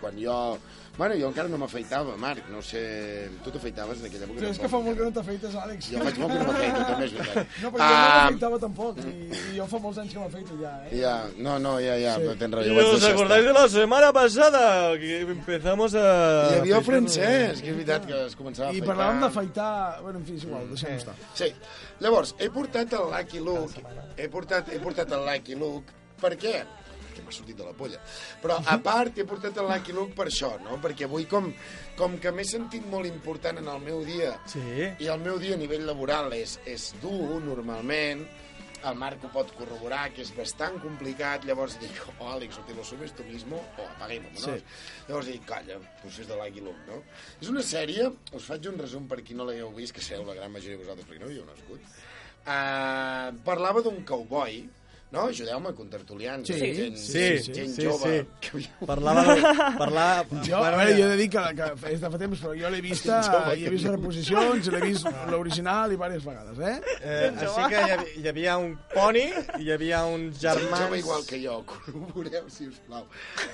Speaker 5: quan jo... Bueno, jo encara no m'afeitava, Marc, no sé... Tu t'afeitaves en aquella època?
Speaker 6: Sí, és que fa molt que no t'afeites, Àlex.
Speaker 5: Jo faig molt que no m'afeito, també és veritat.
Speaker 6: No, però jo no
Speaker 5: Ah.
Speaker 6: m'afeitava tampoc, i, i jo fa molts anys que m'afeito ja, eh?
Speaker 5: Ja, no, no, ja, ja, sí. tens raó,
Speaker 3: I
Speaker 5: jo vaig
Speaker 3: us
Speaker 5: deixar
Speaker 3: acordáis de la setmana pasada que empezamos a...
Speaker 5: Hi havia el francès, que és veritat que es començava a
Speaker 6: I
Speaker 5: afeitar. Mm.
Speaker 6: parlàvem d'afaitar... Bueno, en fi, és igual, deixem-ho estar.
Speaker 5: Sí. Llavors, he portat el Lucky Luke. He portat, he portat el Lucky Luke. Per què? Que m'ha sortit de la polla. Però, a part, he portat el Lucky Luke per això, no? Perquè avui, com, com que m'he sentit molt important en el meu dia,
Speaker 3: Sí.
Speaker 5: i el meu dia a nivell laboral és, és dur, normalment, el Marc ho pot corroborar, que és bastant complicat, llavors dic, oh, Àlex, o te lo subes tu mismo, o apaguem
Speaker 15: Sí.
Speaker 5: no? Llavors dic, calla, procés de l'Aguiló, no? És una sèrie, us faig un resum per qui no l'hagueu vist, que seu la gran majoria de vosaltres, perquè no hi heu nascut. Uh, parlava d'un cowboy, no? Ajudeu-me, contertulians,
Speaker 6: Sí,
Speaker 5: gent,
Speaker 6: sí,
Speaker 5: gent,
Speaker 6: sí,
Speaker 5: gent
Speaker 6: sí,
Speaker 5: jove.
Speaker 6: sí.
Speaker 5: Que...
Speaker 6: Parlava
Speaker 3: de- parlar-
Speaker 6: Jo, a veure, jo he de dir que, que és de fa temps, però jo l'he vista,
Speaker 3: Jove,
Speaker 6: i he vist
Speaker 3: que-
Speaker 6: reposicions, l'he vist l'original i diverses vegades, eh?
Speaker 3: Eh, així que hi havia, hi havia un poni, hi havia uns germans...
Speaker 5: Jove igual que jo, corroboreu, sisplau.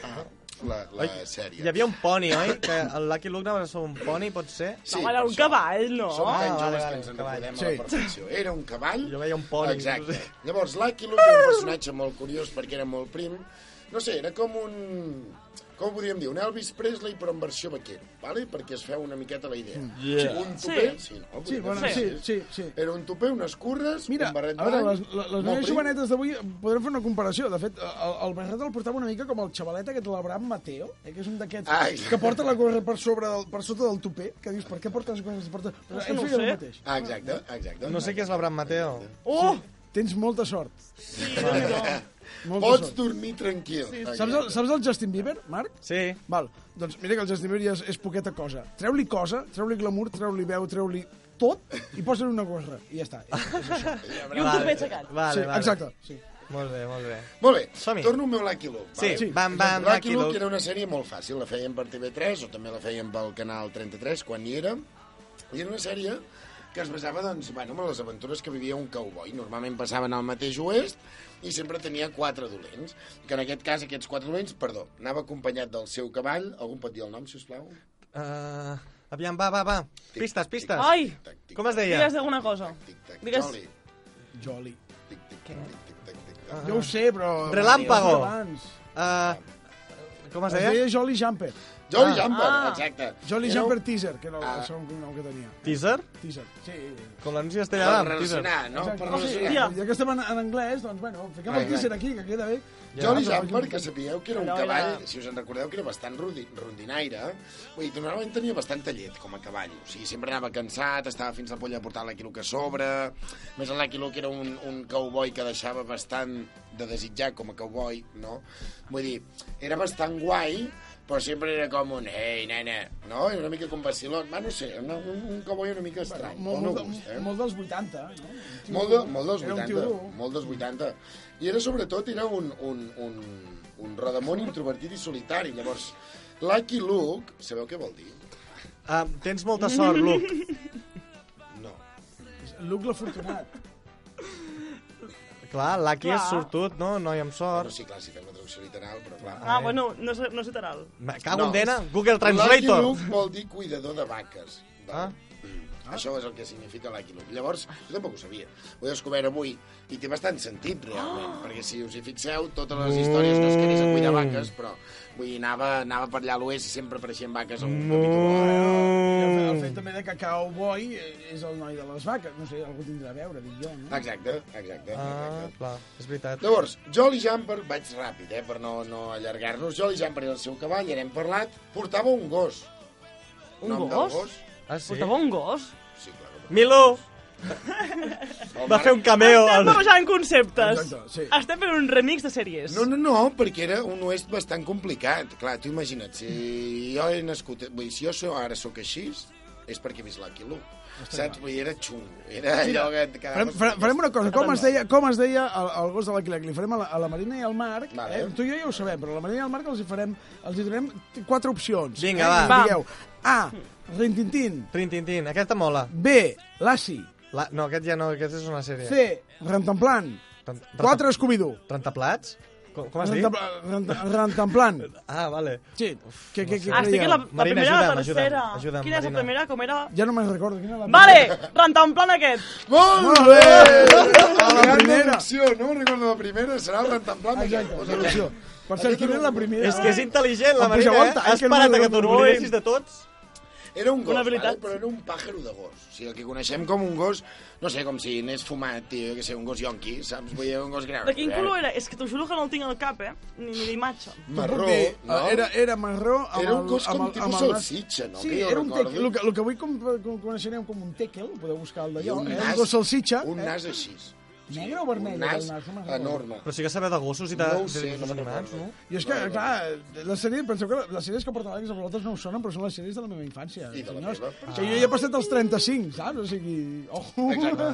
Speaker 5: Ah, la, la
Speaker 3: Oi,
Speaker 5: sèrie.
Speaker 3: Hi havia un poni, oi? Que el Lucky Luke anava a ser un poni, pot ser?
Speaker 5: Sí, No, era per un això.
Speaker 2: cavall, no?
Speaker 5: Som tan joves que ens en recordem a la perfecció. Era un cavall... Jo veia un poni. Exacte. Llavors, Lucky Luke era un personatge molt curiós perquè era molt prim. No sé, era com un... Com ho podríem dir? Un Elvis Presley, però en versió vaquero, ¿vale? perquè es feu una miqueta la idea.
Speaker 6: Mm. Yeah.
Speaker 5: Un tupé...
Speaker 6: Sí.
Speaker 5: Sí, no?
Speaker 6: Sí, bueno,
Speaker 5: Podríem
Speaker 6: sí,
Speaker 5: dir.
Speaker 6: sí, sí.
Speaker 5: Era un tupé, unes curres, Mira, un barret
Speaker 6: A veure, les,
Speaker 5: blanc...
Speaker 6: les, les
Speaker 5: molt
Speaker 6: noies
Speaker 5: prim.
Speaker 6: jovenetes d'avui podrem fer una comparació. De fet, el, el Bernat el portava una mica com el xavalet aquest, l'Abraham Mateo, eh, que és un d'aquests
Speaker 5: Ai.
Speaker 6: que porta la gorra per, sobre del, per sota del tupé, que dius, per què portes gorres? Porta...
Speaker 5: Però és
Speaker 6: Ell
Speaker 5: que no ho
Speaker 6: feia
Speaker 5: sé. Ah, exacte, exacte.
Speaker 3: No sé qui és l'Abraham Mateo.
Speaker 6: Oh! Tens molta sort. Sí,
Speaker 5: [LAUGHS]
Speaker 6: Molta
Speaker 5: Pots
Speaker 6: sort.
Speaker 5: dormir tranquil.
Speaker 6: Sí, sí. Saps, el, saps el Justin Bieber, Marc?
Speaker 3: Sí.
Speaker 6: Val, doncs mira que el Justin Bieber ja és, és poqueta cosa. Treu-li cosa, treu-li glamour, treu-li veu, treu-li tot i posa-li una gorra. I
Speaker 3: [LAUGHS]
Speaker 6: ja està. És, és això.
Speaker 3: I un tupé aixecat. Vale,
Speaker 6: sí,
Speaker 3: vale.
Speaker 6: Exacte. Sí.
Speaker 3: Molt bé, molt bé.
Speaker 5: Molt bé,
Speaker 3: Som-hi.
Speaker 5: torno al meu Lucky Luke.
Speaker 3: Sí,
Speaker 5: vale?
Speaker 3: bam, bam,
Speaker 5: Lucky,
Speaker 3: Lucky
Speaker 5: Luke
Speaker 3: Luke.
Speaker 5: era una sèrie molt fàcil, la feien per TV3 o també la feien pel canal 33 quan hi era. I era una sèrie que es basava doncs, bueno, en les aventures que vivia un cowboy. Normalment passaven al mateix oest i sempre tenia quatre dolents. Que en aquest cas, aquests quatre dolents, perdó, anava acompanyat del seu cavall. Algú em pot dir el nom, si us plau?
Speaker 3: Uh, aviam, va, va, va. Pistes, pistes.
Speaker 2: Ai!
Speaker 3: Com es deia?
Speaker 2: Digues alguna cosa. Digues...
Speaker 5: Jolly.
Speaker 6: Jolly.
Speaker 3: Ah.
Speaker 6: Jo ho sé, però...
Speaker 3: Relámpago.
Speaker 6: Abans.
Speaker 3: Uh, com es
Speaker 6: Es
Speaker 3: deia?
Speaker 6: deia Jolly Jumper.
Speaker 3: Jolly Ah. Jumper,
Speaker 5: exacte.
Speaker 6: Jolly
Speaker 3: Era un-
Speaker 6: Jumper Teaser, que era el,
Speaker 3: Ah.
Speaker 6: el segon cognom que tenia.
Speaker 3: Teaser?
Speaker 6: Teaser, sí.
Speaker 3: Com l'anunci castellà.
Speaker 5: Per
Speaker 3: teaser.
Speaker 5: relacionar, no? Per
Speaker 6: sí,
Speaker 5: relacionar.
Speaker 6: ja, ja que estem en, en anglès, doncs, bueno, fiquem
Speaker 5: Ai,
Speaker 6: el teaser
Speaker 5: ai.
Speaker 6: aquí, que queda bé.
Speaker 5: Jolly
Speaker 6: Però-
Speaker 5: Jumper, que sabíeu que era un
Speaker 6: Allò era-
Speaker 5: cavall, si us en recordeu, que era bastant rudi- rondinaire. Vull dir, normalment tenia bastant tallet com a cavall. O sigui, sempre anava cansat, estava fins a la polla de portar l'Aquilo que a sobre. A Més l'Aquilo que era un, un cowboy que deixava bastant de desitjar com a cowboy, no? Vull dir, era bastant guai, però sempre era com un, ei, nena, no? Era una mica com vacilón. Va, no sé, un, un, un cowboy una mica estrany. pel
Speaker 6: Molt,
Speaker 5: meu
Speaker 6: molt, de-
Speaker 5: gust, eh?
Speaker 6: molt dels 80, no? Un tio-
Speaker 5: Molt, de, molt dels
Speaker 6: Era un tio
Speaker 5: 80,
Speaker 6: dur.
Speaker 5: molt dels 80. I era, sobretot, era un, un, un, un rodamón introvertit i solitari. Llavors, Lucky Luke, sabeu què vol dir?
Speaker 3: Uh, tens molta sort,
Speaker 2: [LAUGHS]
Speaker 3: Luke.
Speaker 5: No.
Speaker 6: Luke l'afortunat.
Speaker 3: Clar, Lucky
Speaker 2: Clar.
Speaker 3: és sortut, no? Noi amb sort.
Speaker 5: Bueno, sí, clar, si fem la traducció literal, però clar.
Speaker 2: Ah, bueno, no, és- no és literal.
Speaker 3: Me cago
Speaker 5: No.
Speaker 3: en dena. Google Translator.
Speaker 5: Lucky Luke vol dir cuidador de vaques. Ah. Això és el que significa Lucky Luke. Llavors, jo tampoc ho sabia. Ho he descobert avui i té bastant sentit,
Speaker 3: Ah!
Speaker 5: realment, perquè si us hi fixeu, totes les històries no es quedés a
Speaker 3: Mm.
Speaker 5: cuidar vaques, però vull dir, anava, anava per allà a l'oest i sempre apareixien vaques a
Speaker 3: Mm.
Speaker 5: un
Speaker 6: I el, fe- el
Speaker 5: capítol.
Speaker 6: fet també de que Cowboy és el noi de les vaques. No sé, algú tindrà a veure, dic jo, no?
Speaker 5: Exacte, exacte.
Speaker 3: Ah, clar, és veritat.
Speaker 5: Llavors, Jolly Jumper, vaig ràpid, eh, per no, no allargar-nos, Jolly Jumper era el seu cavall, ja n'hem parlat, portava un gos.
Speaker 2: Un
Speaker 5: Nom del
Speaker 2: gos?
Speaker 5: gos?
Speaker 3: Ah, sí?
Speaker 2: Portava un gos?
Speaker 5: Sí, clar.
Speaker 3: Milú! Va fer un cameo.
Speaker 2: Estem
Speaker 3: al-
Speaker 2: barrejant conceptes.
Speaker 5: Exacte, sí.
Speaker 2: Estem fent un remix de sèries.
Speaker 5: No, no, no, perquè era un oest bastant complicat. Clar, tu imagina't, si jo he nascut... Vull dir, si jo so- ara sóc així, és perquè he vist Lucky Luke. Saps? Vull dir, era xungo. Era allò que... et
Speaker 6: Farem,
Speaker 5: quedaves-
Speaker 6: farem, farem una cosa, com es deia, com es deia el, el gos de la Quilec? Li farem a la, a la Marina i al Marc,
Speaker 5: Vale.
Speaker 6: eh? tu i jo ja ho sabem, però a la Marina i al Marc els hi farem, els hi donem quatre opcions. eh?
Speaker 3: Vinga,
Speaker 6: I
Speaker 3: va.
Speaker 6: ens Digueu, A, Rintintín.
Speaker 3: Rintintín, aquesta mola.
Speaker 6: B, Lassi.
Speaker 3: La... No, aquest ja no, aquest és una sèrie.
Speaker 6: C, Rentamplan. Quatre, Scooby-Doo.
Speaker 3: Rentaplats? Com, com has dit?
Speaker 6: Rentamplan. Rentamplan.
Speaker 3: Ah, vale.
Speaker 6: Sí. Que, que, que,
Speaker 2: Ah, estic
Speaker 6: creieu?
Speaker 2: en la, la primera o la tercera. Quina és la primera? Com era?
Speaker 6: Ja no me'n recordo. Quina era la
Speaker 2: Vale, rentamplan aquest.
Speaker 5: Molt
Speaker 6: bé!
Speaker 5: A la
Speaker 6: Gran
Speaker 5: primera.
Speaker 6: deducció,
Speaker 5: no me'n recordo la primera, serà el rentamplan.
Speaker 6: Exacte, deducció. Per cert, quina era la primera?
Speaker 3: És que és intel·ligent, la Marina, eh? Has parat a que t'oblidessis de tots?
Speaker 5: Era un gos,
Speaker 3: Una
Speaker 5: vale?
Speaker 3: veritat.
Speaker 5: però era un pàjaro de gos. O sigui, el que coneixem com un gos, no sé, com si n'és fumat, tio, jo què sé, un gos yonqui, saps? Vull dir, un gos gran. eh?
Speaker 2: De quin color era? És que t'ho juro que no el tinc al cap, eh? Ni, ni l'imatge.
Speaker 5: Marró,
Speaker 6: Bé,
Speaker 5: no?
Speaker 6: eh, Era, era marró... Amb
Speaker 5: Era un
Speaker 6: el-
Speaker 5: gos com
Speaker 6: amb el-
Speaker 5: tipus
Speaker 6: amb el nas.
Speaker 5: salsitxa, no?
Speaker 6: Sí,
Speaker 5: Que jo
Speaker 6: era un
Speaker 5: recordo.
Speaker 6: tekel. El que, el que avui com, com, coneixerem com un tekel, ho podeu buscar al d'allò.
Speaker 5: I un
Speaker 6: eh?
Speaker 5: nas-
Speaker 6: un gos salsitxa.
Speaker 5: un
Speaker 6: eh?
Speaker 5: nas així.
Speaker 6: Negre o vermell?
Speaker 5: nas
Speaker 6: aquell nas? No me'n recordo.
Speaker 5: enorme.
Speaker 3: Però sí que saber de gossos i de...
Speaker 5: No ho sé,
Speaker 3: de-
Speaker 5: no me'n
Speaker 3: animals,
Speaker 5: recordo.
Speaker 3: no?
Speaker 6: Jo és que, clar, la sèrie, penseu que les sèries que porten Àlex a vosaltres no us sonen, però són les sèries de la meva infància.
Speaker 5: I de la
Speaker 6: senyors.
Speaker 5: meva.
Speaker 6: O sigui, jo ja he passat els 35, saps? O sigui, ojo.
Speaker 5: Exacte.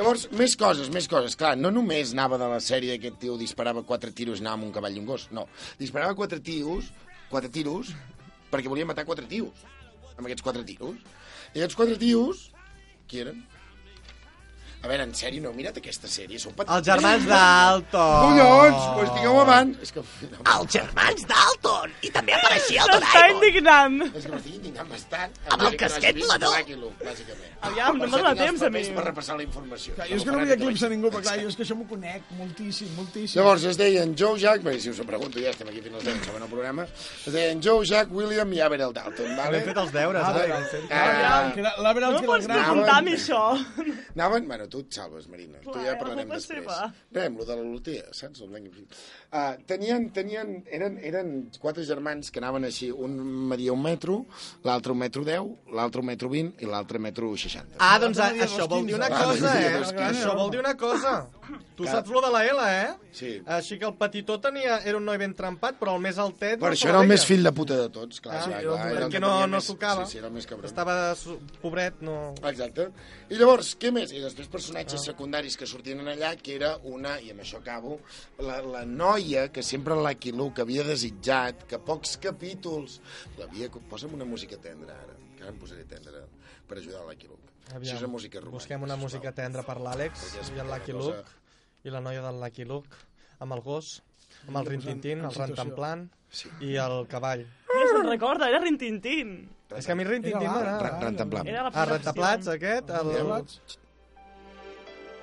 Speaker 5: Llavors, més coses, més coses. Clar, no només anava de la sèrie que aquest tio disparava quatre tiros i anava amb un cavall i un gos. No, disparava quatre tiros, quatre tiros, perquè volia matar quatre tios, amb aquests quatre tiros. I aquests quatre tios, qui eren? A veure, en sèrio, no heu mirat aquesta sèrie? Sou petits.
Speaker 3: Els germans d'Alto.
Speaker 5: Collons, pues digueu
Speaker 2: Oh.
Speaker 5: abans. És que... Els
Speaker 15: germans d'Alton! I també apareixia el
Speaker 2: S'està
Speaker 15: Doraemon!
Speaker 2: indignant.
Speaker 5: És que m'estic indignant bastant.
Speaker 15: Amb el casquet volador.
Speaker 5: Bàsicament.
Speaker 2: Aviam, no em dóna temps, a mi.
Speaker 5: Per repassar la informació.
Speaker 6: Clar, jo és que no havia clips a ningú, però clar, jo és que això m'ho conec moltíssim, moltíssim.
Speaker 5: Llavors es deien Joe Jack, bé, si us ho pregunto, ja estem aquí fins als 10, segon el programa, es deien Joe Jack, William i Averell Dalton, vale?
Speaker 3: Hem fet els deures, eh?
Speaker 5: Ah,
Speaker 3: Àlex.
Speaker 5: vale.
Speaker 6: Aviam, que era- l'Averell
Speaker 2: No
Speaker 6: que era el
Speaker 2: pots
Speaker 6: gran.
Speaker 2: preguntar a mi això.
Speaker 5: Anaven, bueno, tu et salves, Marina, tu
Speaker 2: Clar,
Speaker 5: ja
Speaker 2: la
Speaker 5: parlarem
Speaker 2: culpa és
Speaker 5: després.
Speaker 2: seva.
Speaker 5: Anem, lo de la loteria, saps? El blanc i blanc. Ah, tenien, tenien, eren, eren quatre germans que anaven així, un media un metro, l'altre un metro deu, l'altre un metro vint i l'altre un metro seixanta.
Speaker 3: Ah, doncs a, això vol dir una
Speaker 5: Ah,
Speaker 3: cosa,
Speaker 5: media
Speaker 3: eh?
Speaker 5: dos quinze.
Speaker 3: Això vol dir una cosa. Tu
Speaker 5: Clar.
Speaker 3: saps lo de la L, eh?
Speaker 5: Sí.
Speaker 3: Així que el petitó tenia, era un noi ben trempat, però el més altet...
Speaker 5: Per
Speaker 3: no
Speaker 5: això era el
Speaker 3: deia.
Speaker 5: més fill de puta de tots, clar.
Speaker 3: Ah,
Speaker 5: clar,
Speaker 3: sí,
Speaker 5: clar, era el
Speaker 3: perquè
Speaker 5: que
Speaker 3: no,
Speaker 5: tenia
Speaker 3: no
Speaker 5: més-
Speaker 3: tocava.
Speaker 5: Sí, sí, era el més cabró.
Speaker 3: Estava su- pobret, no...
Speaker 5: Exacte. I llavors, què més? I després personatges
Speaker 3: Ah.
Speaker 5: secundaris que sortien en allà, que era una, i amb això acabo, la, la noia que sempre Lucky Luke havia desitjat, que pocs capítols l'havia... co- Posa'm una música tendra, ara, que ara em posaré tendra per ajudar a Lucky Luke. Aviam. Això és una música romàntica.
Speaker 3: Busquem una música tendra per l'Àlex
Speaker 5: Perquè és
Speaker 3: i el Lucky
Speaker 5: una cosa-
Speaker 3: Luke i la noia del Lucky Luke amb el gos, amb el
Speaker 5: Posant
Speaker 3: rintintín,
Speaker 5: en
Speaker 3: el
Speaker 5: situació.
Speaker 3: rantanplan i el cavall.
Speaker 2: Ja se'n recorda, era Rintintín.
Speaker 3: És que a mi el rintintín
Speaker 2: Era
Speaker 3: m'agrada.
Speaker 5: Ra- rantanplan.
Speaker 2: Era la
Speaker 3: Ah,
Speaker 2: primera
Speaker 3: rentaplats,
Speaker 2: opció.
Speaker 3: aquest. El...
Speaker 2: Rentaplats.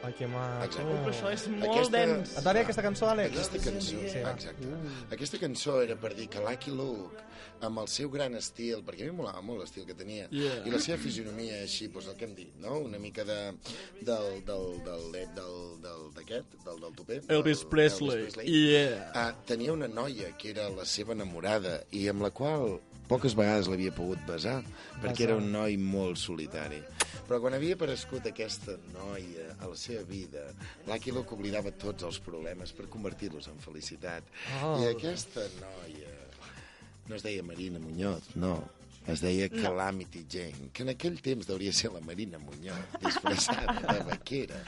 Speaker 3: Ai, que maco.
Speaker 2: Però això és molt dens.
Speaker 3: Et va bé aquesta cançó, Àlex?
Speaker 5: Aquesta cançó, sí, exacte. Aquesta cançó era per dir que Lucky Luke, amb el seu gran estil, perquè a mi em molava molt l'estil que tenia,
Speaker 6: Yeah.
Speaker 5: i la seva fisionomia així, doncs el que hem dit, no? Una mica de, del, del, del, del, del, d'aquest, del, del tupé.
Speaker 6: Elvis
Speaker 5: del-
Speaker 6: Presley.
Speaker 5: Elvis
Speaker 6: Yeah.
Speaker 5: Ah, tenia una noia que era la seva enamorada i amb la qual poques vegades l'havia pogut besar, perquè era un noi molt solitari. Però quan havia aparegut aquesta noia a la seva vida, Lucky Luke oblidava tots els problemes per convertir-los en felicitat.
Speaker 3: Oh.
Speaker 5: I aquesta noia no es deia Marina Muñoz, no. Es deia Calamity Jane, que en aquell temps hauria ser la Marina Muñoz, disfressada de vaquera.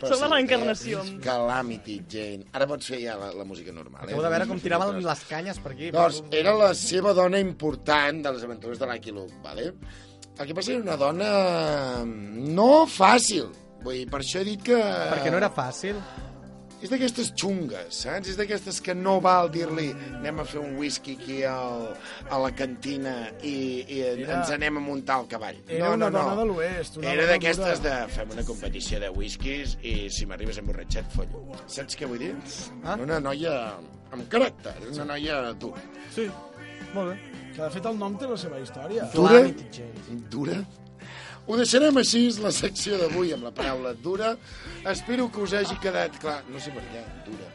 Speaker 2: Som
Speaker 5: se
Speaker 2: a la
Speaker 5: li deia
Speaker 2: encarnació.
Speaker 5: Calamity Jane. Ara pots fer ja la, la música normal. eh?
Speaker 3: Acabo de veure com tiraven les canyes per aquí.
Speaker 5: Doncs era la seva dona important de les aventures de Lucky Luke, vale? El que passa era una dona mm, no fàcil. Vull dir, per això he dit que...
Speaker 3: Perquè no era fàcil.
Speaker 5: És d'aquestes xungues, saps? És d'aquestes que no val dir-li anem a fer un whisky aquí al, a la cantina i, i
Speaker 6: Era-
Speaker 5: era... ens anem a muntar el cavall.
Speaker 6: Era
Speaker 5: no,
Speaker 6: una
Speaker 5: no, no.
Speaker 6: dona de l'oest, una
Speaker 5: Era
Speaker 6: dona
Speaker 5: d'aquestes de
Speaker 6: dura.
Speaker 5: fem una competició de whiskies i si m'arribes emborratxat, follo. Saps què vull dir? Ah? Una noia amb caràcter, una noia dura.
Speaker 6: Sí, molt
Speaker 3: doncs
Speaker 6: bé. Que de fet el nom té la seva història.
Speaker 5: Dura? Dura? Ho deixarem així, és la secció d'avui, amb la paraula dura. Espero que us hagi quedat clar. No sé per què, dura.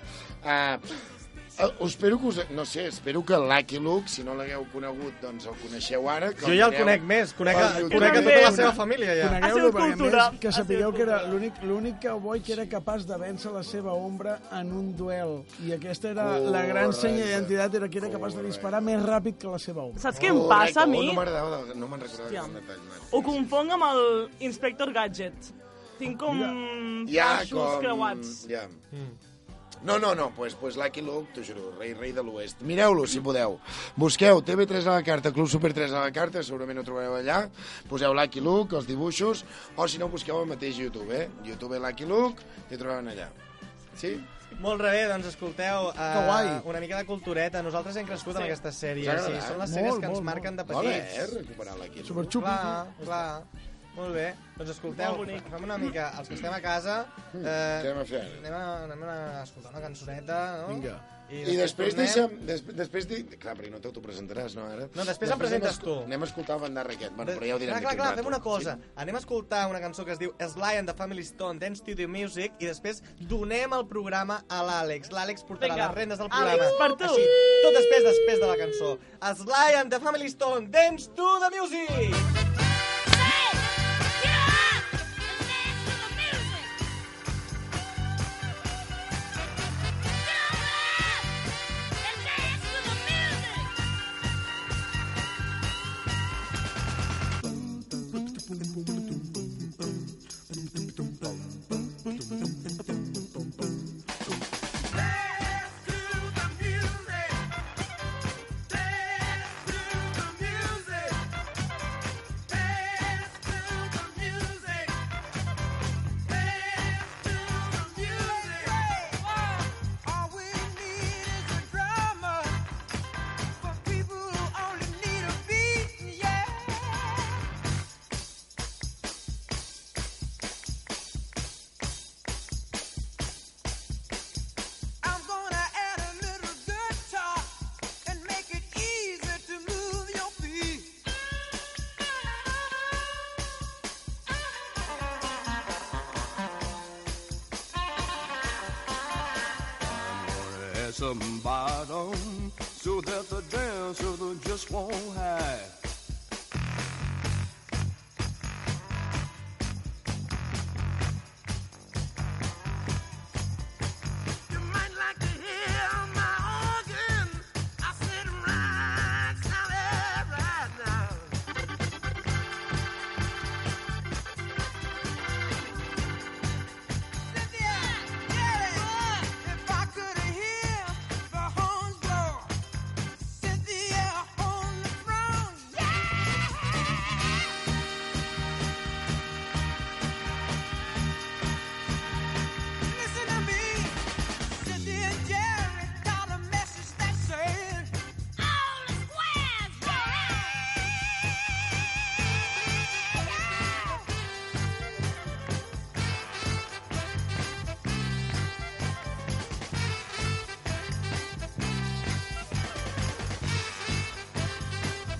Speaker 5: Uh, uh, espero que us... No sé, espero que Lucky Luke, si no l'hagueu conegut, doncs el coneixeu ara. Que
Speaker 3: Jo ja el
Speaker 5: mireu
Speaker 3: conec més, conec a-
Speaker 5: al
Speaker 3: conec a
Speaker 5: YouTube.
Speaker 3: tota la seva família, ja. Ha
Speaker 6: Conegueu-lo,
Speaker 3: sigut
Speaker 6: perquè a
Speaker 3: cultura,
Speaker 6: més, que sapigueu que era l'únic l'únic cowboy que era capaç de vèncer la seva ombra en un duel. I aquesta era la gran
Speaker 5: Oh, Correcte.
Speaker 6: senya d'identitat, era que era capaç de disparar més ràpid que la seva ombra.
Speaker 2: Saps què em passa a mi?
Speaker 5: Oh, no m'agradava, de- no me'n recordava
Speaker 2: Hòstia.
Speaker 5: d'aquest detall. Marc.
Speaker 2: Ho confong amb el Inspector Gadget. Tinc com
Speaker 5: Ja,
Speaker 2: passos
Speaker 5: com...
Speaker 2: creuats.
Speaker 5: Ja. No, no, no, pues, pues Lucky Luke, t'ho juro, rei, rei de l'oest. Mireu-lo, si podeu. Busqueu TV3 a la carta, Club Super 3 a la carta, segurament ho trobareu allà. Poseu Lucky Luke, els dibuixos, o si no, busqueu el mateix YouTube, eh? YouTube Lucky Luke, i ho trobaran allà. Sí?
Speaker 3: Molt bé, doncs escolteu,
Speaker 5: Que guai.
Speaker 3: uh, una mica de cultureta. Nosaltres hem crescut
Speaker 5: Sí.
Speaker 3: amb aquestes
Speaker 5: Us ha
Speaker 3: sèries. Sí,
Speaker 5: agradat?
Speaker 3: són les
Speaker 5: Molt,
Speaker 3: sèries que ens
Speaker 5: molt,
Speaker 3: marquen de
Speaker 5: molt. Molt bé,
Speaker 3: petits.
Speaker 5: eh, recuperar l'Aki Luke.
Speaker 3: Super xupi. Clar, clar. Molt bé, doncs escolteu,
Speaker 2: Molt bonic.
Speaker 3: fem una mica, els que estem a casa, eh,
Speaker 5: Mm, què anem a fer ara?
Speaker 3: anem, a, anem a escoltar una cançoneta, no?
Speaker 5: Vinga. I,
Speaker 3: després
Speaker 5: després
Speaker 3: tornem.
Speaker 5: deixa'm... Després, després di... Clar, perquè no t'autopresentaràs, no, ara?
Speaker 3: No, després em presentes
Speaker 5: anem a- Anem a escoltar el bandarra aquest. Bueno, però ja ho direm
Speaker 3: clar,
Speaker 5: d'aquí
Speaker 3: clar,
Speaker 5: un
Speaker 3: clar,
Speaker 5: rato.
Speaker 3: fem una cosa.
Speaker 5: Sí?
Speaker 3: Sí? Anem a escoltar una cançó que es diu Sly and the Family Stone, Dance to the Music, i després donem el programa a l'Àlex. L'Àlex portarà
Speaker 2: Vinga,
Speaker 3: les rendes del
Speaker 2: Àlex,
Speaker 3: programa.
Speaker 2: per tu.
Speaker 3: Així, tot després, després de la cançó. Sly and the Family Stone, Dance to the Music!
Speaker 8: Get up and dance to the music.
Speaker 16: get some bottom so that the dancer just won't hide.
Speaker 8: You might like to hear my organ. I said right solid right now. Cynthia, get it. If I could hear the horns blow, Cynthia on the throne, yeah. Listen to me. Cindy and Jerry got a message that says, All is squares,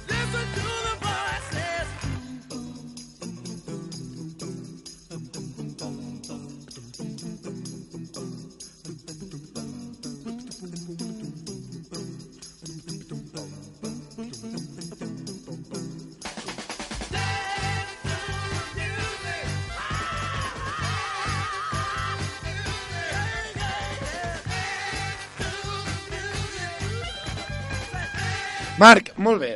Speaker 8: Listen to the voices.
Speaker 5: Marc, molt bé.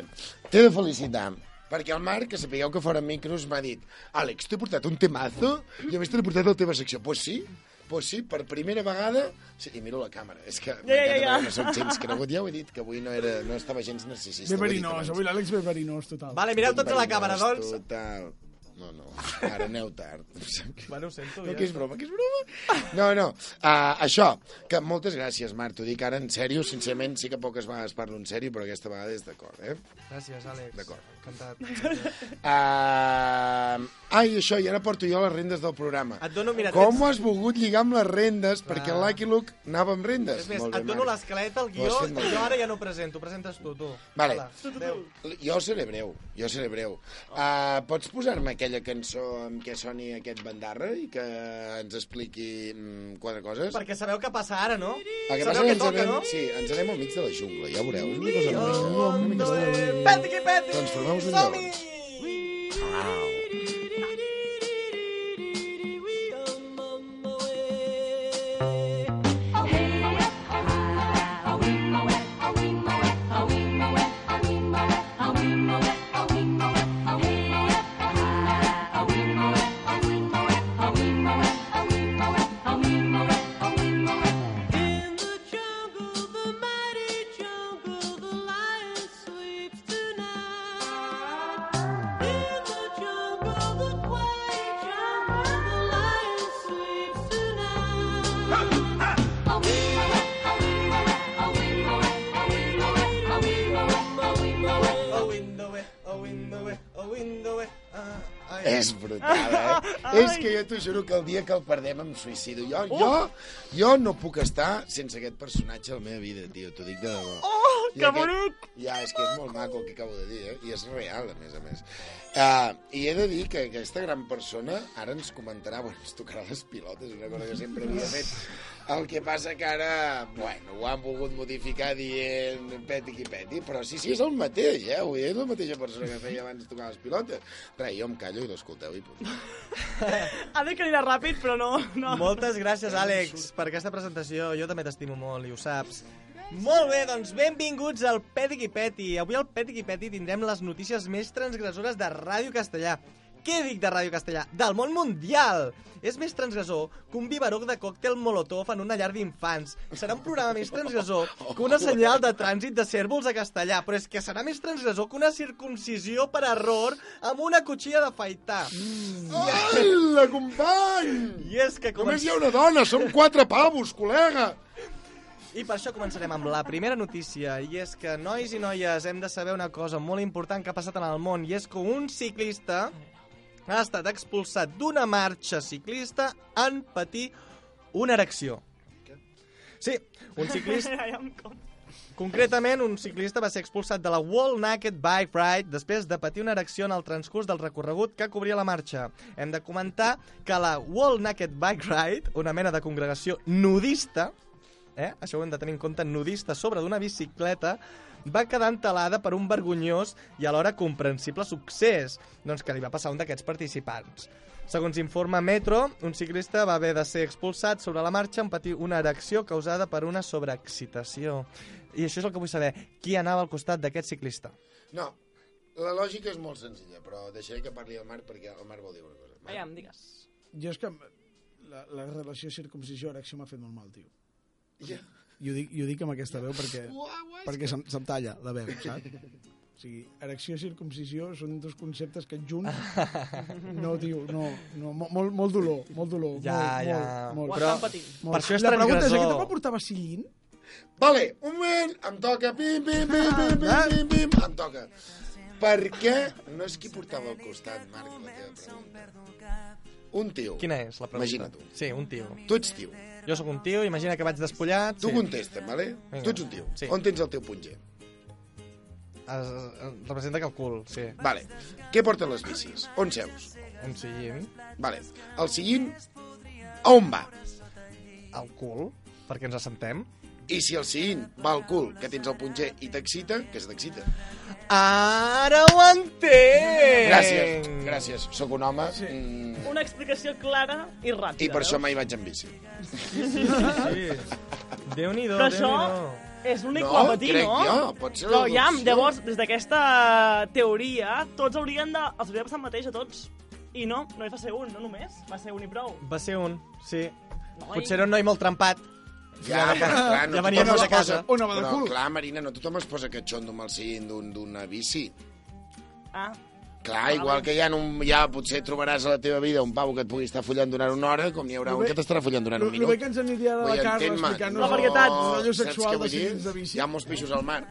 Speaker 5: T'he de felicitar. Perquè el Marc, que sapigueu que fora micros, m'ha dit Àlex, t'he portat un temazo i a més t'he portat a la teva secció. Pues sí, pues sí, per primera vegada... Sí, I miro la càmera, és que m'encanta
Speaker 6: ja, ja.
Speaker 5: veure que sóc gens cregut. Ja ho he dit, que avui no, era, no estava gens narcisista.
Speaker 6: Bé
Speaker 5: ho he dit
Speaker 6: verinós,
Speaker 5: abans.
Speaker 6: avui l'Àlex bé verinós, total.
Speaker 3: Vale, mireu tots a la càmera,
Speaker 5: Verinós,
Speaker 3: doncs.
Speaker 5: Total. No, no, ara aneu tard.
Speaker 3: Bueno, ho sento,
Speaker 5: No, que és broma, que és broma. No, no, uh, això, que moltes gràcies, Marc, t'ho dic ara en sèrio, sincerament sí que poques vegades parlo en sèrio, però aquesta vegada és d'acord, eh?
Speaker 3: Gràcies, Àlex. D'acord. [LAUGHS] Encantat.
Speaker 5: Uh, ai, això, i ara porto jo les rendes del programa.
Speaker 3: Et dono, mira,
Speaker 5: Com
Speaker 3: tens-
Speaker 5: ho has volgut lligar amb les rendes?
Speaker 3: Clar.
Speaker 5: Perquè el Lucky Luke anava amb rendes.
Speaker 3: És més,
Speaker 5: Molt
Speaker 3: et dono
Speaker 5: Marc.
Speaker 3: l'esquelet,
Speaker 5: Ho
Speaker 3: el
Speaker 5: has
Speaker 3: guió,
Speaker 5: fet molt
Speaker 3: jo
Speaker 5: bé.
Speaker 3: ara ja no presento, presentes tu, tu.
Speaker 5: Vale.
Speaker 3: Hola. Adéu.
Speaker 5: Jo seré breu, jo seré breu.
Speaker 3: Oh.
Speaker 5: Uh, pots posar-me aquella cançó amb què soni aquest bandarra i que ens expliqui mm, quatre coses?
Speaker 3: Perquè sabeu què passa ara, no?
Speaker 5: El que passa és que
Speaker 3: sabeu què
Speaker 5: ens
Speaker 3: toca,
Speaker 5: anem,
Speaker 3: no?
Speaker 5: sí, ens anem al mig de la jungla, ja ho veureu. És una cosa bonica.
Speaker 3: Una
Speaker 5: mica de...
Speaker 3: Peti, peti!
Speaker 5: Transformeu-vos en
Speaker 3: Som-hi!
Speaker 5: lleons.
Speaker 3: Oh, Uh,
Speaker 5: És brutal, eh?
Speaker 3: [LAUGHS] Ai.
Speaker 5: És que jo t'ho juro que el dia que el perdem em suïcido. Jo, jo, jo no puc estar sense aquest personatge a la meva vida, tio. T'ho dic de debò.
Speaker 2: Oh,
Speaker 5: I
Speaker 2: que bonic!
Speaker 5: Ja, és que és molt maco el que acabo de dir, eh? I és real, a més a més. Uh, I he de dir que aquesta gran persona ara ens comentarà, bueno, ens tocarà les pilotes, una cosa que sempre havia fet. El que passa que ara, bueno, ho han volgut modificar dient peti qui peti, però sí, sí, és el mateix, eh? Vull dir, és la mateixa persona que feia abans de tocar les pilotes. Res, jo em callo i l'escolteu i punt.
Speaker 2: Ha dit que anirà ràpid, però no. no.
Speaker 3: Moltes gràcies, Àlex, per aquesta presentació. Jo també t'estimo molt i ho saps. Molt bé, doncs benvinguts al Peti qui Peti. Avui al Peti qui Peti tindrem les notícies més transgressores de Ràdio Castellà. Què dic de Ràdio Castellà? Del món mundial! És més transgressor que un biberoc de còctel molotov en una llar d'infants. Serà un programa més transgressor que una senyal de trànsit de cèrvols a castellà, però és que serà més transgressor que una circuncisió per error amb una cotxilla d'afaitar.
Speaker 5: Hola, company!
Speaker 3: I és que
Speaker 5: Només hi ha una dona, som quatre pavos, col·lega!
Speaker 3: I per això començarem amb la primera notícia, i és que, nois i noies, hem de saber una cosa molt important que ha passat en el món, i és que un ciclista ha estat expulsat d'una marxa ciclista en patir una erecció. Sí, un
Speaker 2: [LAUGHS]
Speaker 3: ciclista...
Speaker 2: Ja, ja em com-
Speaker 3: Concretament, un ciclista va ser expulsat de la Wall Naked Bike Ride després de patir una erecció en el transcurs del recorregut que cobria la marxa. Hem de comentar que la Wall Naked Bike Ride, una mena de congregació nudista, eh? això ho hem de tenir en compte, nudista sobre d'una bicicleta, va quedar entelada per un vergonyós i alhora comprensible succés doncs que li va passar a un d'aquests participants. Segons informa Metro, un ciclista va haver de ser expulsat sobre la marxa en patir una erecció causada per una sobreexcitació. I això és el que vull saber. Qui anava al costat d'aquest ciclista?
Speaker 5: No, la lògica és molt senzilla, però deixaré que parli el Marc perquè el Marc vol dir una cosa. Marc.
Speaker 2: Aviam, digues.
Speaker 6: Jo és que la, la relació circumcisió-erecció m'ha fet molt mal, tio.
Speaker 5: Ja.
Speaker 6: I ho dic, i ho dic amb aquesta veu perquè,
Speaker 5: Uau, uau, és
Speaker 6: perquè
Speaker 5: que-
Speaker 6: se'm, se'm talla la veu, saps? O sigui, erecció i circumcisió són dos conceptes que
Speaker 3: [LAUGHS]
Speaker 6: junts... No, tio, no. no mo- molt, molt dolor, molt dolor.
Speaker 3: Ja,
Speaker 6: molt,
Speaker 3: ja.
Speaker 6: Molt, molt,
Speaker 3: Ho estan patint. Per això és
Speaker 6: la pregunta és,
Speaker 3: transgressor.
Speaker 6: aquest home portava sillín?
Speaker 5: Vale, un moment, em toca, pim, pim, pim, pim, pim, pim, pim, em toca. Per què no és qui portava al costat, Marc, la teva pregunta? Un tio.
Speaker 3: Quina és la pregunta?
Speaker 5: Imagina't
Speaker 3: tu. Sí, un tio.
Speaker 5: Tu ets tio.
Speaker 3: Jo sóc un tio, imagina que vaig despullat...
Speaker 5: Tu
Speaker 3: sí.
Speaker 5: contesta'm, vale?
Speaker 3: Vinga.
Speaker 5: Tu ets un tio.
Speaker 3: Sí.
Speaker 5: On tens el teu punyer?
Speaker 3: Es, es, representa que el cul, sí.
Speaker 5: Vale. Què porten les bicis? On seus?
Speaker 3: Un sillín.
Speaker 5: Vale. El sillín, a on va?
Speaker 3: Al cul, perquè ens assentem.
Speaker 5: I si el sillín va al cul, que tens el punyer i t'excita, que es t'excita.
Speaker 3: Ara ho entenc!
Speaker 5: Gràcies, gràcies. Sóc un home sí. mm,
Speaker 2: Una explicació clara i ràpida.
Speaker 5: i per això
Speaker 2: veus?
Speaker 5: mai vaig amb bici.
Speaker 2: Sí, sí, sí. [LAUGHS]
Speaker 3: Déu-n'hi-do,
Speaker 2: Però això és l'únic no, guapatí,
Speaker 5: crec
Speaker 2: no?
Speaker 5: jo, pot ser
Speaker 2: Però
Speaker 5: la
Speaker 2: ja,
Speaker 5: opció.
Speaker 2: llavors, des d'aquesta teoria, tots haurien de... Els hauria de passar el mateix a tots. I no, només va ser un, no només. Va ser un i prou.
Speaker 3: Va ser un, sí.
Speaker 2: Noi.
Speaker 3: Potser era un noi molt trampat.
Speaker 5: Ja, ja, però, clar, no
Speaker 3: ja venia
Speaker 5: tothom
Speaker 3: de
Speaker 5: es
Speaker 3: casa.
Speaker 5: Posa, però, clar, Marina, no tothom es posa catxondo amb el sillín d'un- d'una bici.
Speaker 2: Ah,
Speaker 5: Clar, igual que ja, un, ja potser trobaràs a la teva vida un pavo que et pugui estar follant durant una hora, com n'hi haurà
Speaker 6: Lo
Speaker 5: un
Speaker 6: bé-
Speaker 5: que t'estarà follant durant
Speaker 6: Lo,
Speaker 5: un
Speaker 6: lo bé
Speaker 5: minut.
Speaker 6: que ens aniria ara
Speaker 5: Vull
Speaker 6: la Carla
Speaker 5: entendre-me.
Speaker 6: explicant-nos
Speaker 5: No,
Speaker 6: el- el rotllo
Speaker 5: saps què
Speaker 6: sexual de
Speaker 5: vull dir?
Speaker 6: sillins de bici.
Speaker 5: Hi ha molts peixos al mar.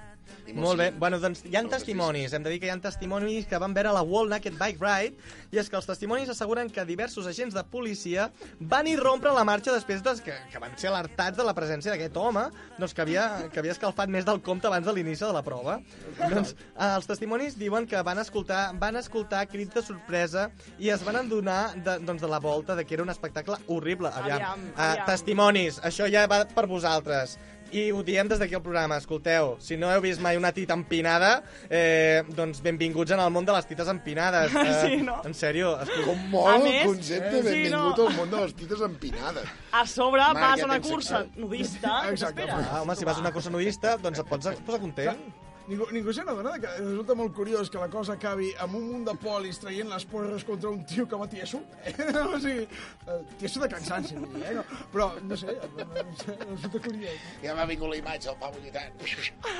Speaker 5: I molts
Speaker 3: Molt bé.
Speaker 5: sillins.
Speaker 3: Bueno, doncs hi ha testimonis. Hem de dir que hi ha testimonis que van veure la Wall Naked Bike Ride i és que els testimonis asseguren que diversos agents de policia van irrompre la marxa després de que, que van ser alertats de la presència d'aquest home doncs que, havia, que havia escalfat més del compte abans de l'inici de la prova. Doncs eh, els testimonis diuen que van escoltar, van escoltar crits de sorpresa i es van adonar de, doncs, de la volta de que era un espectacle horrible. Aviam, Eh,
Speaker 2: Aviam,
Speaker 3: aviam.
Speaker 2: aviam.
Speaker 3: testimonis, això ja va per vosaltres. I ho diem des d'aquí al programa, escolteu, si no heu vist mai una tita empinada, eh, doncs benvinguts en el món de les
Speaker 2: [LAUGHS]
Speaker 3: tites empinades. Eh,
Speaker 2: Ah, Sí, no?
Speaker 3: En sèrio, escolteu.
Speaker 5: Com mola
Speaker 2: A
Speaker 5: el
Speaker 2: més,
Speaker 5: concepte,
Speaker 2: eh, sí,
Speaker 5: benvingut
Speaker 2: no.
Speaker 5: al món de les tites empinades.
Speaker 2: A sobre
Speaker 5: Marc,
Speaker 2: vas
Speaker 5: ja
Speaker 2: a una
Speaker 5: tens eh,
Speaker 2: cursa
Speaker 5: sexo. [LAUGHS]
Speaker 2: nudista. què t'esperes?
Speaker 3: Ah, home, si vas a una cursa nudista, doncs et pots posar content.
Speaker 6: Ningú, ningú se n'adona que resulta molt curiós que la cosa acabi amb un munt de polis traient les porres contra un tio que va tieso. [LAUGHS] o sigui, eh, tieso de cansanci, vull dir, eh? No, però, no sé, em- em resulta curiós.
Speaker 5: Ja m'ha vingut la imatge, el pavo
Speaker 2: [LAUGHS]
Speaker 5: lluitant.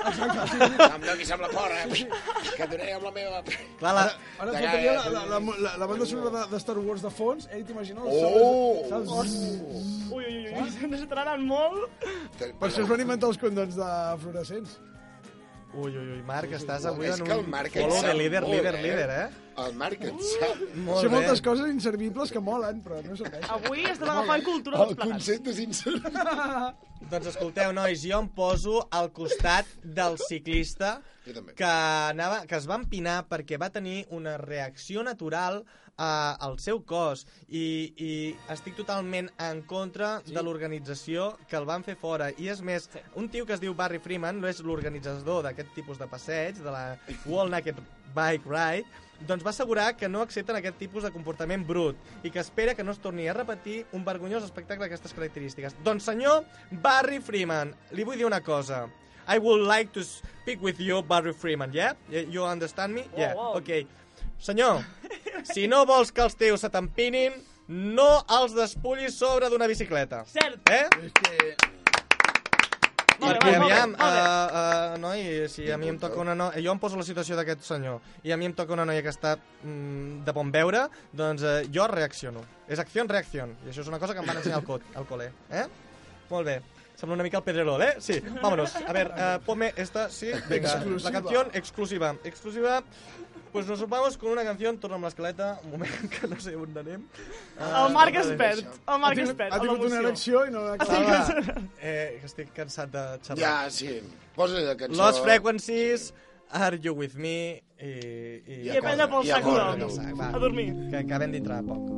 Speaker 5: Em donis amb la porra, eh? que et donaré amb la meva...
Speaker 3: Clar, la...
Speaker 6: Ara
Speaker 5: Ja,
Speaker 6: faltaria
Speaker 5: ja, ja.
Speaker 6: la, la, la, la, la banda sonora de, de Star Wars de fons, eh? T'imagines?
Speaker 5: Oh!
Speaker 6: Saps?
Speaker 2: Ui, ui, ui, ui, ens entraran molt.
Speaker 6: Per això es van inventar els condons de fluorescents.
Speaker 3: Ui, ui, ui, Marc, estàs avui
Speaker 5: És
Speaker 3: en
Speaker 5: que el
Speaker 3: un
Speaker 5: Marc en
Speaker 3: polo de
Speaker 5: sap
Speaker 3: líder,
Speaker 5: molt,
Speaker 3: líder,
Speaker 5: eh?
Speaker 3: líder, eh?
Speaker 5: El Marc en sap.
Speaker 6: Sé
Speaker 3: bé.
Speaker 6: moltes coses inservibles que molen, però no serveixen.
Speaker 2: Avui estem agafant cultura
Speaker 5: El
Speaker 2: dels plegats.
Speaker 5: concepte és insert.
Speaker 3: Doncs escolteu, nois, jo em poso al costat del ciclista que, anava, que es va empinar perquè va tenir una reacció natural eh, al seu cos i, i estic totalment en contra sí. de l'organització que el van fer fora i és més, un tio que es diu Barry Freeman no és l'organitzador d'aquest tipus de passeig de la Wall Naked Bike Ride doncs va assegurar que no accepten aquest tipus de comportament brut i que espera que no es torni a repetir un vergonyós espectacle d'aquestes característiques. Doncs senyor Barry Freeman, li vull dir una cosa. I would like to speak with you, Barry Freeman, yeah? Yeah, You understand me? Yeah,
Speaker 2: wow.
Speaker 3: okay. Senyor, si no vols que els teus se t'empinin, no els despullis sobre d'una bicicleta.
Speaker 2: Cert.
Speaker 3: Eh?
Speaker 2: Molt bé,
Speaker 3: Perquè,
Speaker 2: molt bé,
Speaker 3: aviam,
Speaker 2: molt bé.
Speaker 3: uh, uh, noi, si a mi em toca una noia... Jo em poso la situació d'aquest senyor i a mi em toca una noia que està mm, de bon veure, doncs uh, jo reacciono. És acció en reacció. I això és una cosa que em van ensenyar al, col, al col·le. Eh? Molt bé. Sembla una mica el Pedrerol, eh? Sí, vámonos. A ver, uh, ponme esta, sí, venga.
Speaker 6: Exclusiva.
Speaker 3: La canción exclusiva. Exclusiva... Pues nos vamos con una canción, torna amb l'escaleta, un moment [LAUGHS] que no sé on anem. Ah,
Speaker 2: El Marc es
Speaker 3: vale.
Speaker 2: perd. El Marc es perd.
Speaker 6: Ha tingut una erecció Ah. i no l'ha
Speaker 3: Sala,
Speaker 6: acabat.
Speaker 3: eh, que estic cansat de xerrar.
Speaker 5: Ja, sí. Posa la cançó.
Speaker 3: Lost Frequencies, Are You With Me... I,
Speaker 2: I
Speaker 3: i,
Speaker 2: a prendre pel sac
Speaker 3: córrer,
Speaker 2: d'or.
Speaker 3: pel sac, va.
Speaker 2: A dormir.
Speaker 3: Que acabem dintre de poc.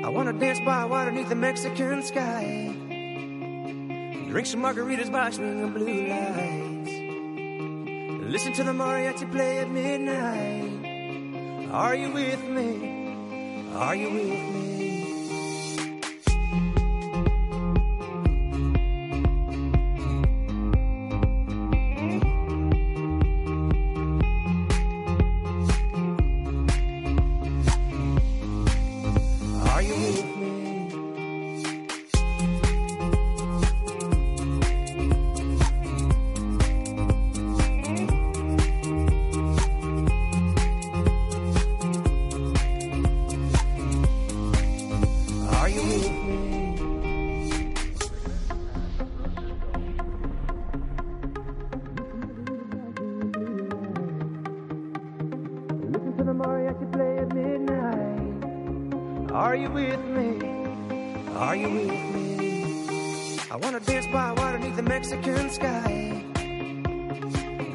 Speaker 17: I wanna dance by water neath the Mexican sky. Drink some margaritas by swing of blue lights. Listen to the mariachi play at midnight. Are you with me? Are you with me? Are you with me? Are you with me? Listen to the mariachi play at midnight. Are you with me? Are you with me? I wanna dance by water neath the Mexican sky.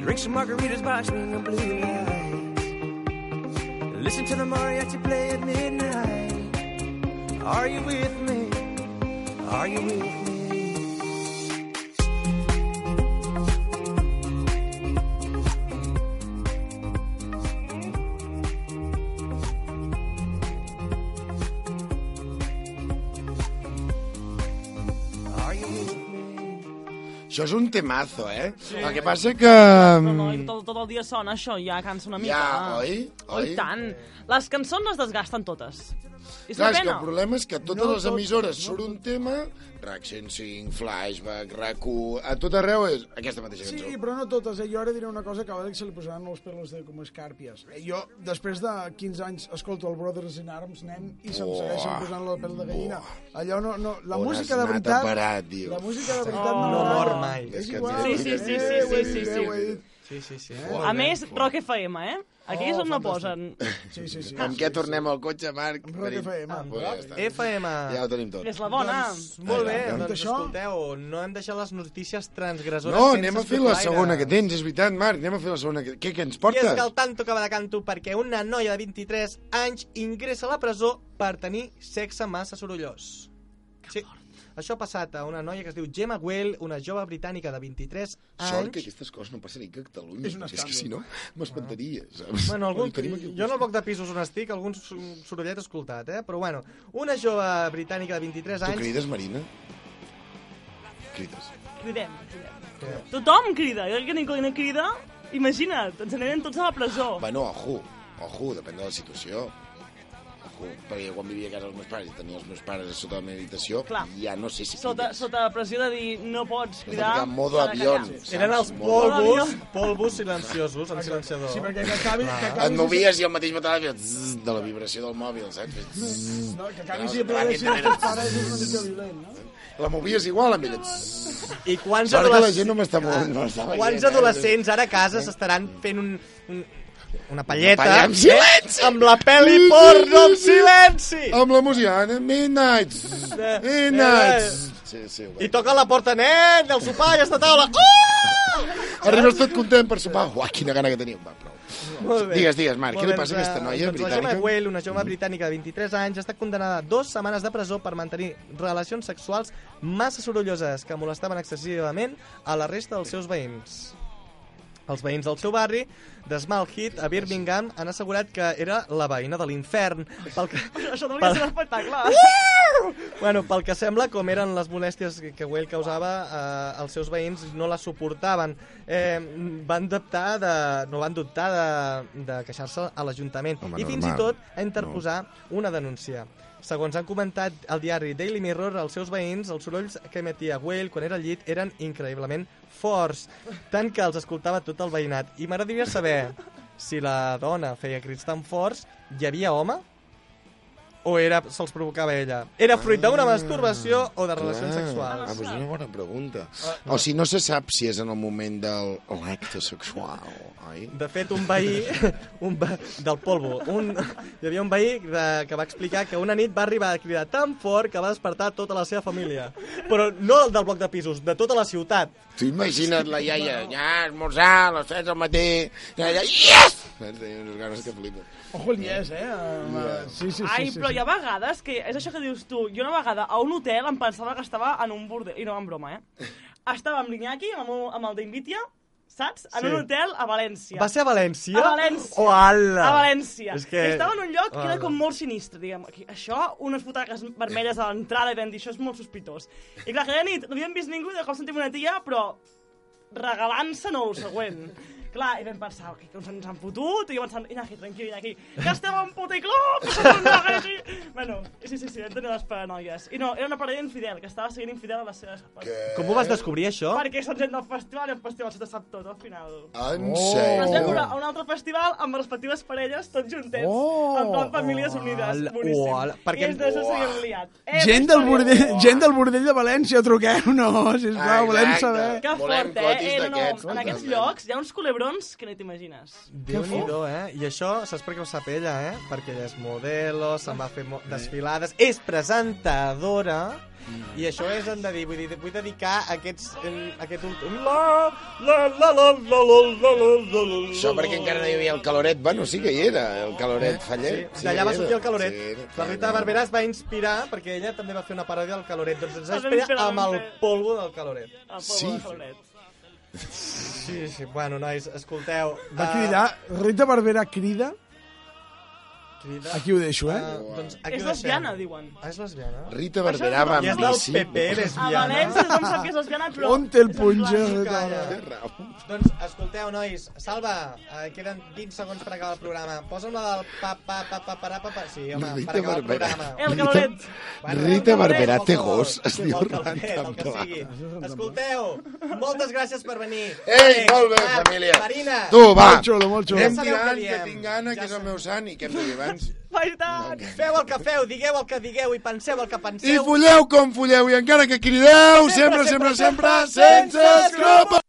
Speaker 17: Drink some margaritas by swing of blue lights. Listen to the mariachi play at midnight. Are you with me? Are you with me? Are you with me?
Speaker 5: Això és un temazo, eh?
Speaker 2: Sí.
Speaker 5: El que passa que... mm,
Speaker 2: No, no, i tot, tot el dia sona això, ja cansa una mica.
Speaker 5: Ja, oi?
Speaker 2: Oh, i
Speaker 5: Oi?
Speaker 2: tant. Les cançons es desgasten totes. És
Speaker 5: Clar,
Speaker 2: una
Speaker 5: és que
Speaker 2: pena.
Speaker 5: el problema és que totes
Speaker 2: No
Speaker 5: les
Speaker 2: tot,
Speaker 5: emissores
Speaker 2: no
Speaker 5: surt un tema, RAC 105, Flashback, rac a tot arreu és aquesta mateixa
Speaker 6: Sí,
Speaker 5: cançó.
Speaker 6: però no totes. Eh? Jo ara diré una cosa que a Àlex se li posaran els pelos de com escàrpies. Eh, Jo, després de 15 anys, escolto el Brothers in Arms, nen, i se'm
Speaker 5: Buah.
Speaker 6: segueixen posant la pell de gallina.
Speaker 5: Oh!
Speaker 6: Allò no... no la
Speaker 5: On
Speaker 6: música
Speaker 5: has
Speaker 6: de
Speaker 5: anat a
Speaker 6: veritat...
Speaker 5: parar, tio?
Speaker 6: La música de veritat
Speaker 2: Oh.
Speaker 6: no,
Speaker 2: No mor
Speaker 3: mai.
Speaker 6: És
Speaker 3: És que
Speaker 6: igual.
Speaker 2: Sí, sí, sí, sí,
Speaker 6: Eh, ho he
Speaker 2: sí,
Speaker 6: dit,
Speaker 2: sí,
Speaker 6: eh, ho he
Speaker 2: sí.
Speaker 6: dit.
Speaker 3: Sí, sí, eh? sí.
Speaker 2: A més, Rock FM, eh? Aquí
Speaker 5: Oh,
Speaker 2: és on no posen.
Speaker 6: Sí, sí, sí.
Speaker 5: Amb què tornem al cotxe, Marc? Amb
Speaker 3: Rock
Speaker 6: FM.
Speaker 3: FM.
Speaker 5: Ja ho tenim tot.
Speaker 2: És la bona.
Speaker 3: Doncs, molt bé,
Speaker 5: Ai, va,
Speaker 3: doncs
Speaker 5: doncs
Speaker 3: això... escolteu, no hem deixat les notícies transgressores
Speaker 5: No,
Speaker 3: sense
Speaker 5: anem a fer la
Speaker 3: escrupolaire.
Speaker 5: segona que tens, és veritat, Marc, anem a fer la segona que... Què, què ens
Speaker 3: I és que
Speaker 5: portes?
Speaker 3: el tanto acaba de canto perquè una noia de 23 anys ingressa a la presó per tenir sexe massa sorollós. Sí. Això ha passat a una noia que es diu Gemma Whale, una jove britànica de 23 anys.
Speaker 5: Sort que aquestes coses no passen ni que a Catalunya,
Speaker 3: És un
Speaker 5: perquè és Ah. que
Speaker 3: escàndol.
Speaker 5: si no m'espantaria, saps?
Speaker 3: Bueno, algun,
Speaker 5: Tenim aquí
Speaker 3: jo en el bloc de pisos on estic, algun so- sorollet he escoltat, eh? Però bueno, una jove britànica de 23
Speaker 5: Tu
Speaker 3: anys...
Speaker 5: crides, Marina? Crides.
Speaker 2: Cridem, cridem. Tothom crida. Jo crec que ningú no crida. Imagina't, ens anirem tots a la presó.
Speaker 3: Oh.
Speaker 5: Bueno, ojo, ojo, depèn de la situació. Ojo, perquè quan vivia a casa dels meus pares i tenia els meus pares a sota la meva habitació,
Speaker 2: Clar.
Speaker 5: ja no sé si...
Speaker 2: Sota, sota pressió de dir no
Speaker 5: Has
Speaker 2: pots
Speaker 5: de
Speaker 2: cridar...
Speaker 5: ficar modo
Speaker 2: s'ha de callar.
Speaker 5: avión, saps?
Speaker 3: Eren els
Speaker 5: Modo
Speaker 3: polvos,
Speaker 2: avión.
Speaker 3: polvos silenciosos, en silenciador.
Speaker 6: Sí, perquè que acabi- que acabi-
Speaker 5: Ah. Et movies i al mateix matí feia zzz, de la vibració del mòbil, saps? Fes zzz.
Speaker 6: No, que
Speaker 5: Anaves
Speaker 6: acabi sempre
Speaker 5: endavant i
Speaker 6: de ser els
Speaker 5: endarrere,
Speaker 6: teus pares és una mica
Speaker 5: zzz.
Speaker 6: violent, no?
Speaker 5: La movies igual amb ella.
Speaker 3: I quants
Speaker 5: Sort que la
Speaker 3: adolesc-
Speaker 5: gent no m'està movent. No m'està veient,
Speaker 3: Quants
Speaker 5: eh?
Speaker 3: adolescents ara a casa s'estaran fent un, un, una palleta...
Speaker 5: Una palla amb
Speaker 3: eh?
Speaker 5: silenci!
Speaker 3: Amb la pel·li porno amb silenci!
Speaker 5: Amb la música, eh? Midnight! Midnight! Sí, sí,
Speaker 3: Eh, I toca la porta, nen, del sopar, ja està a taula. Uh!
Speaker 5: Arribes tot content per sopar. Uah, quina gana que teniu. Va, prou.
Speaker 3: Molt bé.
Speaker 5: Digues, digues, Marc,
Speaker 3: Molt
Speaker 5: què li
Speaker 3: bé,
Speaker 5: passa a aquesta noia
Speaker 3: doncs, La
Speaker 5: britànica?
Speaker 3: Gemma Whale, una jove britànica de 23 anys, ha estat condenada a dues setmanes de presó per mantenir relacions sexuals massa sorolloses que molestaven excessivament a la resta dels seus veïns. Els veïns del seu barri, de Small Hit, a Birmingham, han assegurat que era la veïna de l'infern, pel que,
Speaker 5: [LAUGHS]
Speaker 3: [LAUGHS]
Speaker 2: Això devia ser un espectacle.
Speaker 3: bueno, pel que sembla, com eren les molèsties que- que Whale causava, eh, els seus veïns no la suportaven. Eh, van dubtar de, no van dubtar de, de queixar-se a l'Ajuntament i fins
Speaker 5: normal.
Speaker 3: i tot a interposar una denúncia. Segons han comentat el diari Daily Mirror, els seus veïns, els sorolls que emetia Whale quan era al llit eren increïblement forts, tant que els escoltava tot el veïnat. I m'agradaria saber si la dona feia crits tan forts, hi havia home? O era, se'ls provocava ella? Era fruit
Speaker 6: Ah.
Speaker 3: d'una masturbació o de
Speaker 5: Clar.
Speaker 3: relacions
Speaker 5: Ah,
Speaker 3: sexuals? Ah,
Speaker 5: doncs és una bona pregunta. O si no se sap si és en el moment del l'acte sexual, oi?
Speaker 3: De fet, un veí, [LAUGHS] un ve... del polvo, un... hi havia un veí de... que va explicar que una nit va arribar a cridar tan fort que va despertar tota la seva família. Però no del bloc de pisos, de tota la ciutat.
Speaker 5: Tu imagina't la iaia, ja a esmorzar, a les 7 del matí, la iaia, yes! Tenia unes ganes que flipo.
Speaker 6: Ojo li és, eh? Amb, eh, Sí, sí, sí.
Speaker 2: Ai,
Speaker 6: sí,
Speaker 2: però
Speaker 6: sí.
Speaker 2: hi ha vegades que... És això que dius tu. Jo una vegada a un hotel em pensava que estava en un bordel. I no, en broma, eh? Estava amb l'Iñaki, amb, el- amb el d'Invitia, saps? En
Speaker 3: Sí.
Speaker 2: un hotel a València.
Speaker 3: Va ser a València?
Speaker 2: A València.
Speaker 3: Oh, ala.
Speaker 2: A València.
Speaker 3: És que...
Speaker 2: Estava en un lloc que era
Speaker 3: Ala.
Speaker 2: com molt sinistre, diguem. Aquí, això, unes butaques vermelles a l'entrada i vam dir, això és molt sospitós. I clar, aquella nit no havíem vist ningú i de cop sentim una tia, però regalant-se no el següent. Clar, i vam pensar, okay, que ens, ens han fotut, i jo pensant, Iñaki, tranquil, Iñaki, que estem en puti club! bueno, sí, sí, sí, vam tenir les paranoies. I no, era una parella infidel, que estava seguint infidel a les seves...
Speaker 3: Com ho vas descobrir, això?
Speaker 2: Perquè són gent del festival i el festival se te sap tot, al final.
Speaker 5: En
Speaker 3: Oh.
Speaker 5: sèrio? Ah,
Speaker 2: Ens vam veure a un altre festival amb respectives parelles, tots juntets, oh, en plan famílies unides.
Speaker 3: Uala,
Speaker 2: Boníssim.
Speaker 6: oh,
Speaker 3: uala, perquè-
Speaker 2: I ens d'això
Speaker 3: Uah.
Speaker 2: s'haguem liat. Eh,
Speaker 6: Gent del, bordell, gent del bordell de València, truqueu-nos, sisplau,
Speaker 5: Exacte.
Speaker 6: volem saber.
Speaker 2: Que
Speaker 5: Volem
Speaker 2: fort, eh?
Speaker 5: cotis
Speaker 2: eh no,
Speaker 5: d'aquests,
Speaker 2: no, en aquests
Speaker 5: totalment.
Speaker 2: llocs hi ha uns culebrons que no t'imagines.
Speaker 3: Déu-n'hi-do, eh? I això, saps per què ho sap ella, eh? Perquè ella és modelo, se'n va fer mo desfilades, és presentadora,
Speaker 5: Mm.
Speaker 3: i això és hem de dir, vull dir, vull dedicar aquests, eh, aquest últim... La, la, la, la, la, la, la, la, la, la,
Speaker 5: Això perquè encara no hi havia el caloret. Bueno, sí que hi era, el caloret fallet.
Speaker 3: Eh, Sí, D'allà
Speaker 5: que
Speaker 3: va
Speaker 5: hi era.
Speaker 3: sortir el caloret.
Speaker 5: Sí,
Speaker 3: Sí, la Rita Barberà es va inspirar, perquè ella també va fer una paròdia del caloret, doncs ens va
Speaker 2: El vam fer, el
Speaker 3: inspirar
Speaker 2: vam
Speaker 3: amb el
Speaker 2: fer.
Speaker 3: polvo del caloret.
Speaker 2: El
Speaker 5: Sí.
Speaker 2: poble sí.
Speaker 3: Sí, sí, bueno, nois, escolteu...
Speaker 6: Va
Speaker 3: eh,
Speaker 6: cridar, Rita Barberà crida.
Speaker 3: crida.
Speaker 6: Aquí ho deixo, eh?
Speaker 3: Eh, doncs aquí
Speaker 2: És
Speaker 3: ho deixem.
Speaker 2: lesbiana, diuen.
Speaker 3: Ah, és lesbiana?
Speaker 5: Rita Barberà va
Speaker 3: I és
Speaker 5: amb
Speaker 3: del
Speaker 5: bici.
Speaker 3: PP,
Speaker 2: A
Speaker 3: lesbiana.
Speaker 2: València tothom sap que és lesbiana, però...
Speaker 6: On té el
Speaker 2: és en
Speaker 6: punt,
Speaker 2: plan-
Speaker 6: Jordi?
Speaker 3: Doncs escolteu, nois, salva, eh, queden 20 segons per acabar el programa. Posa'm la del pa, pa, pa, pa, pa, pa, pa, sí, home,
Speaker 5: Rita
Speaker 3: per acabar el
Speaker 5: Barberà.
Speaker 3: programa.
Speaker 5: El caloret. Eh, Rita Barberà té gos, es diu
Speaker 3: El caloret,
Speaker 5: Ranta
Speaker 3: el que sigui. Escolteu, moltes gràcies per venir.
Speaker 5: Ei,
Speaker 3: Àlex,
Speaker 5: molt bé,
Speaker 3: Marc,
Speaker 5: família.
Speaker 3: Marina.
Speaker 5: Tu, va.
Speaker 6: Molt xulo, molt xulo.
Speaker 3: Ja
Speaker 5: Anem
Speaker 3: sabeu
Speaker 5: tirant,
Speaker 3: què
Speaker 5: que
Speaker 3: diem.
Speaker 5: tinc gana, que és el meu sant, i que hem de dir abans.
Speaker 3: Feu el que feu, digueu el que digueu i penseu el que penseu.
Speaker 5: I folleu com folleu, i encara que crideu, sempre, sempre, sempre, sense escrúpols!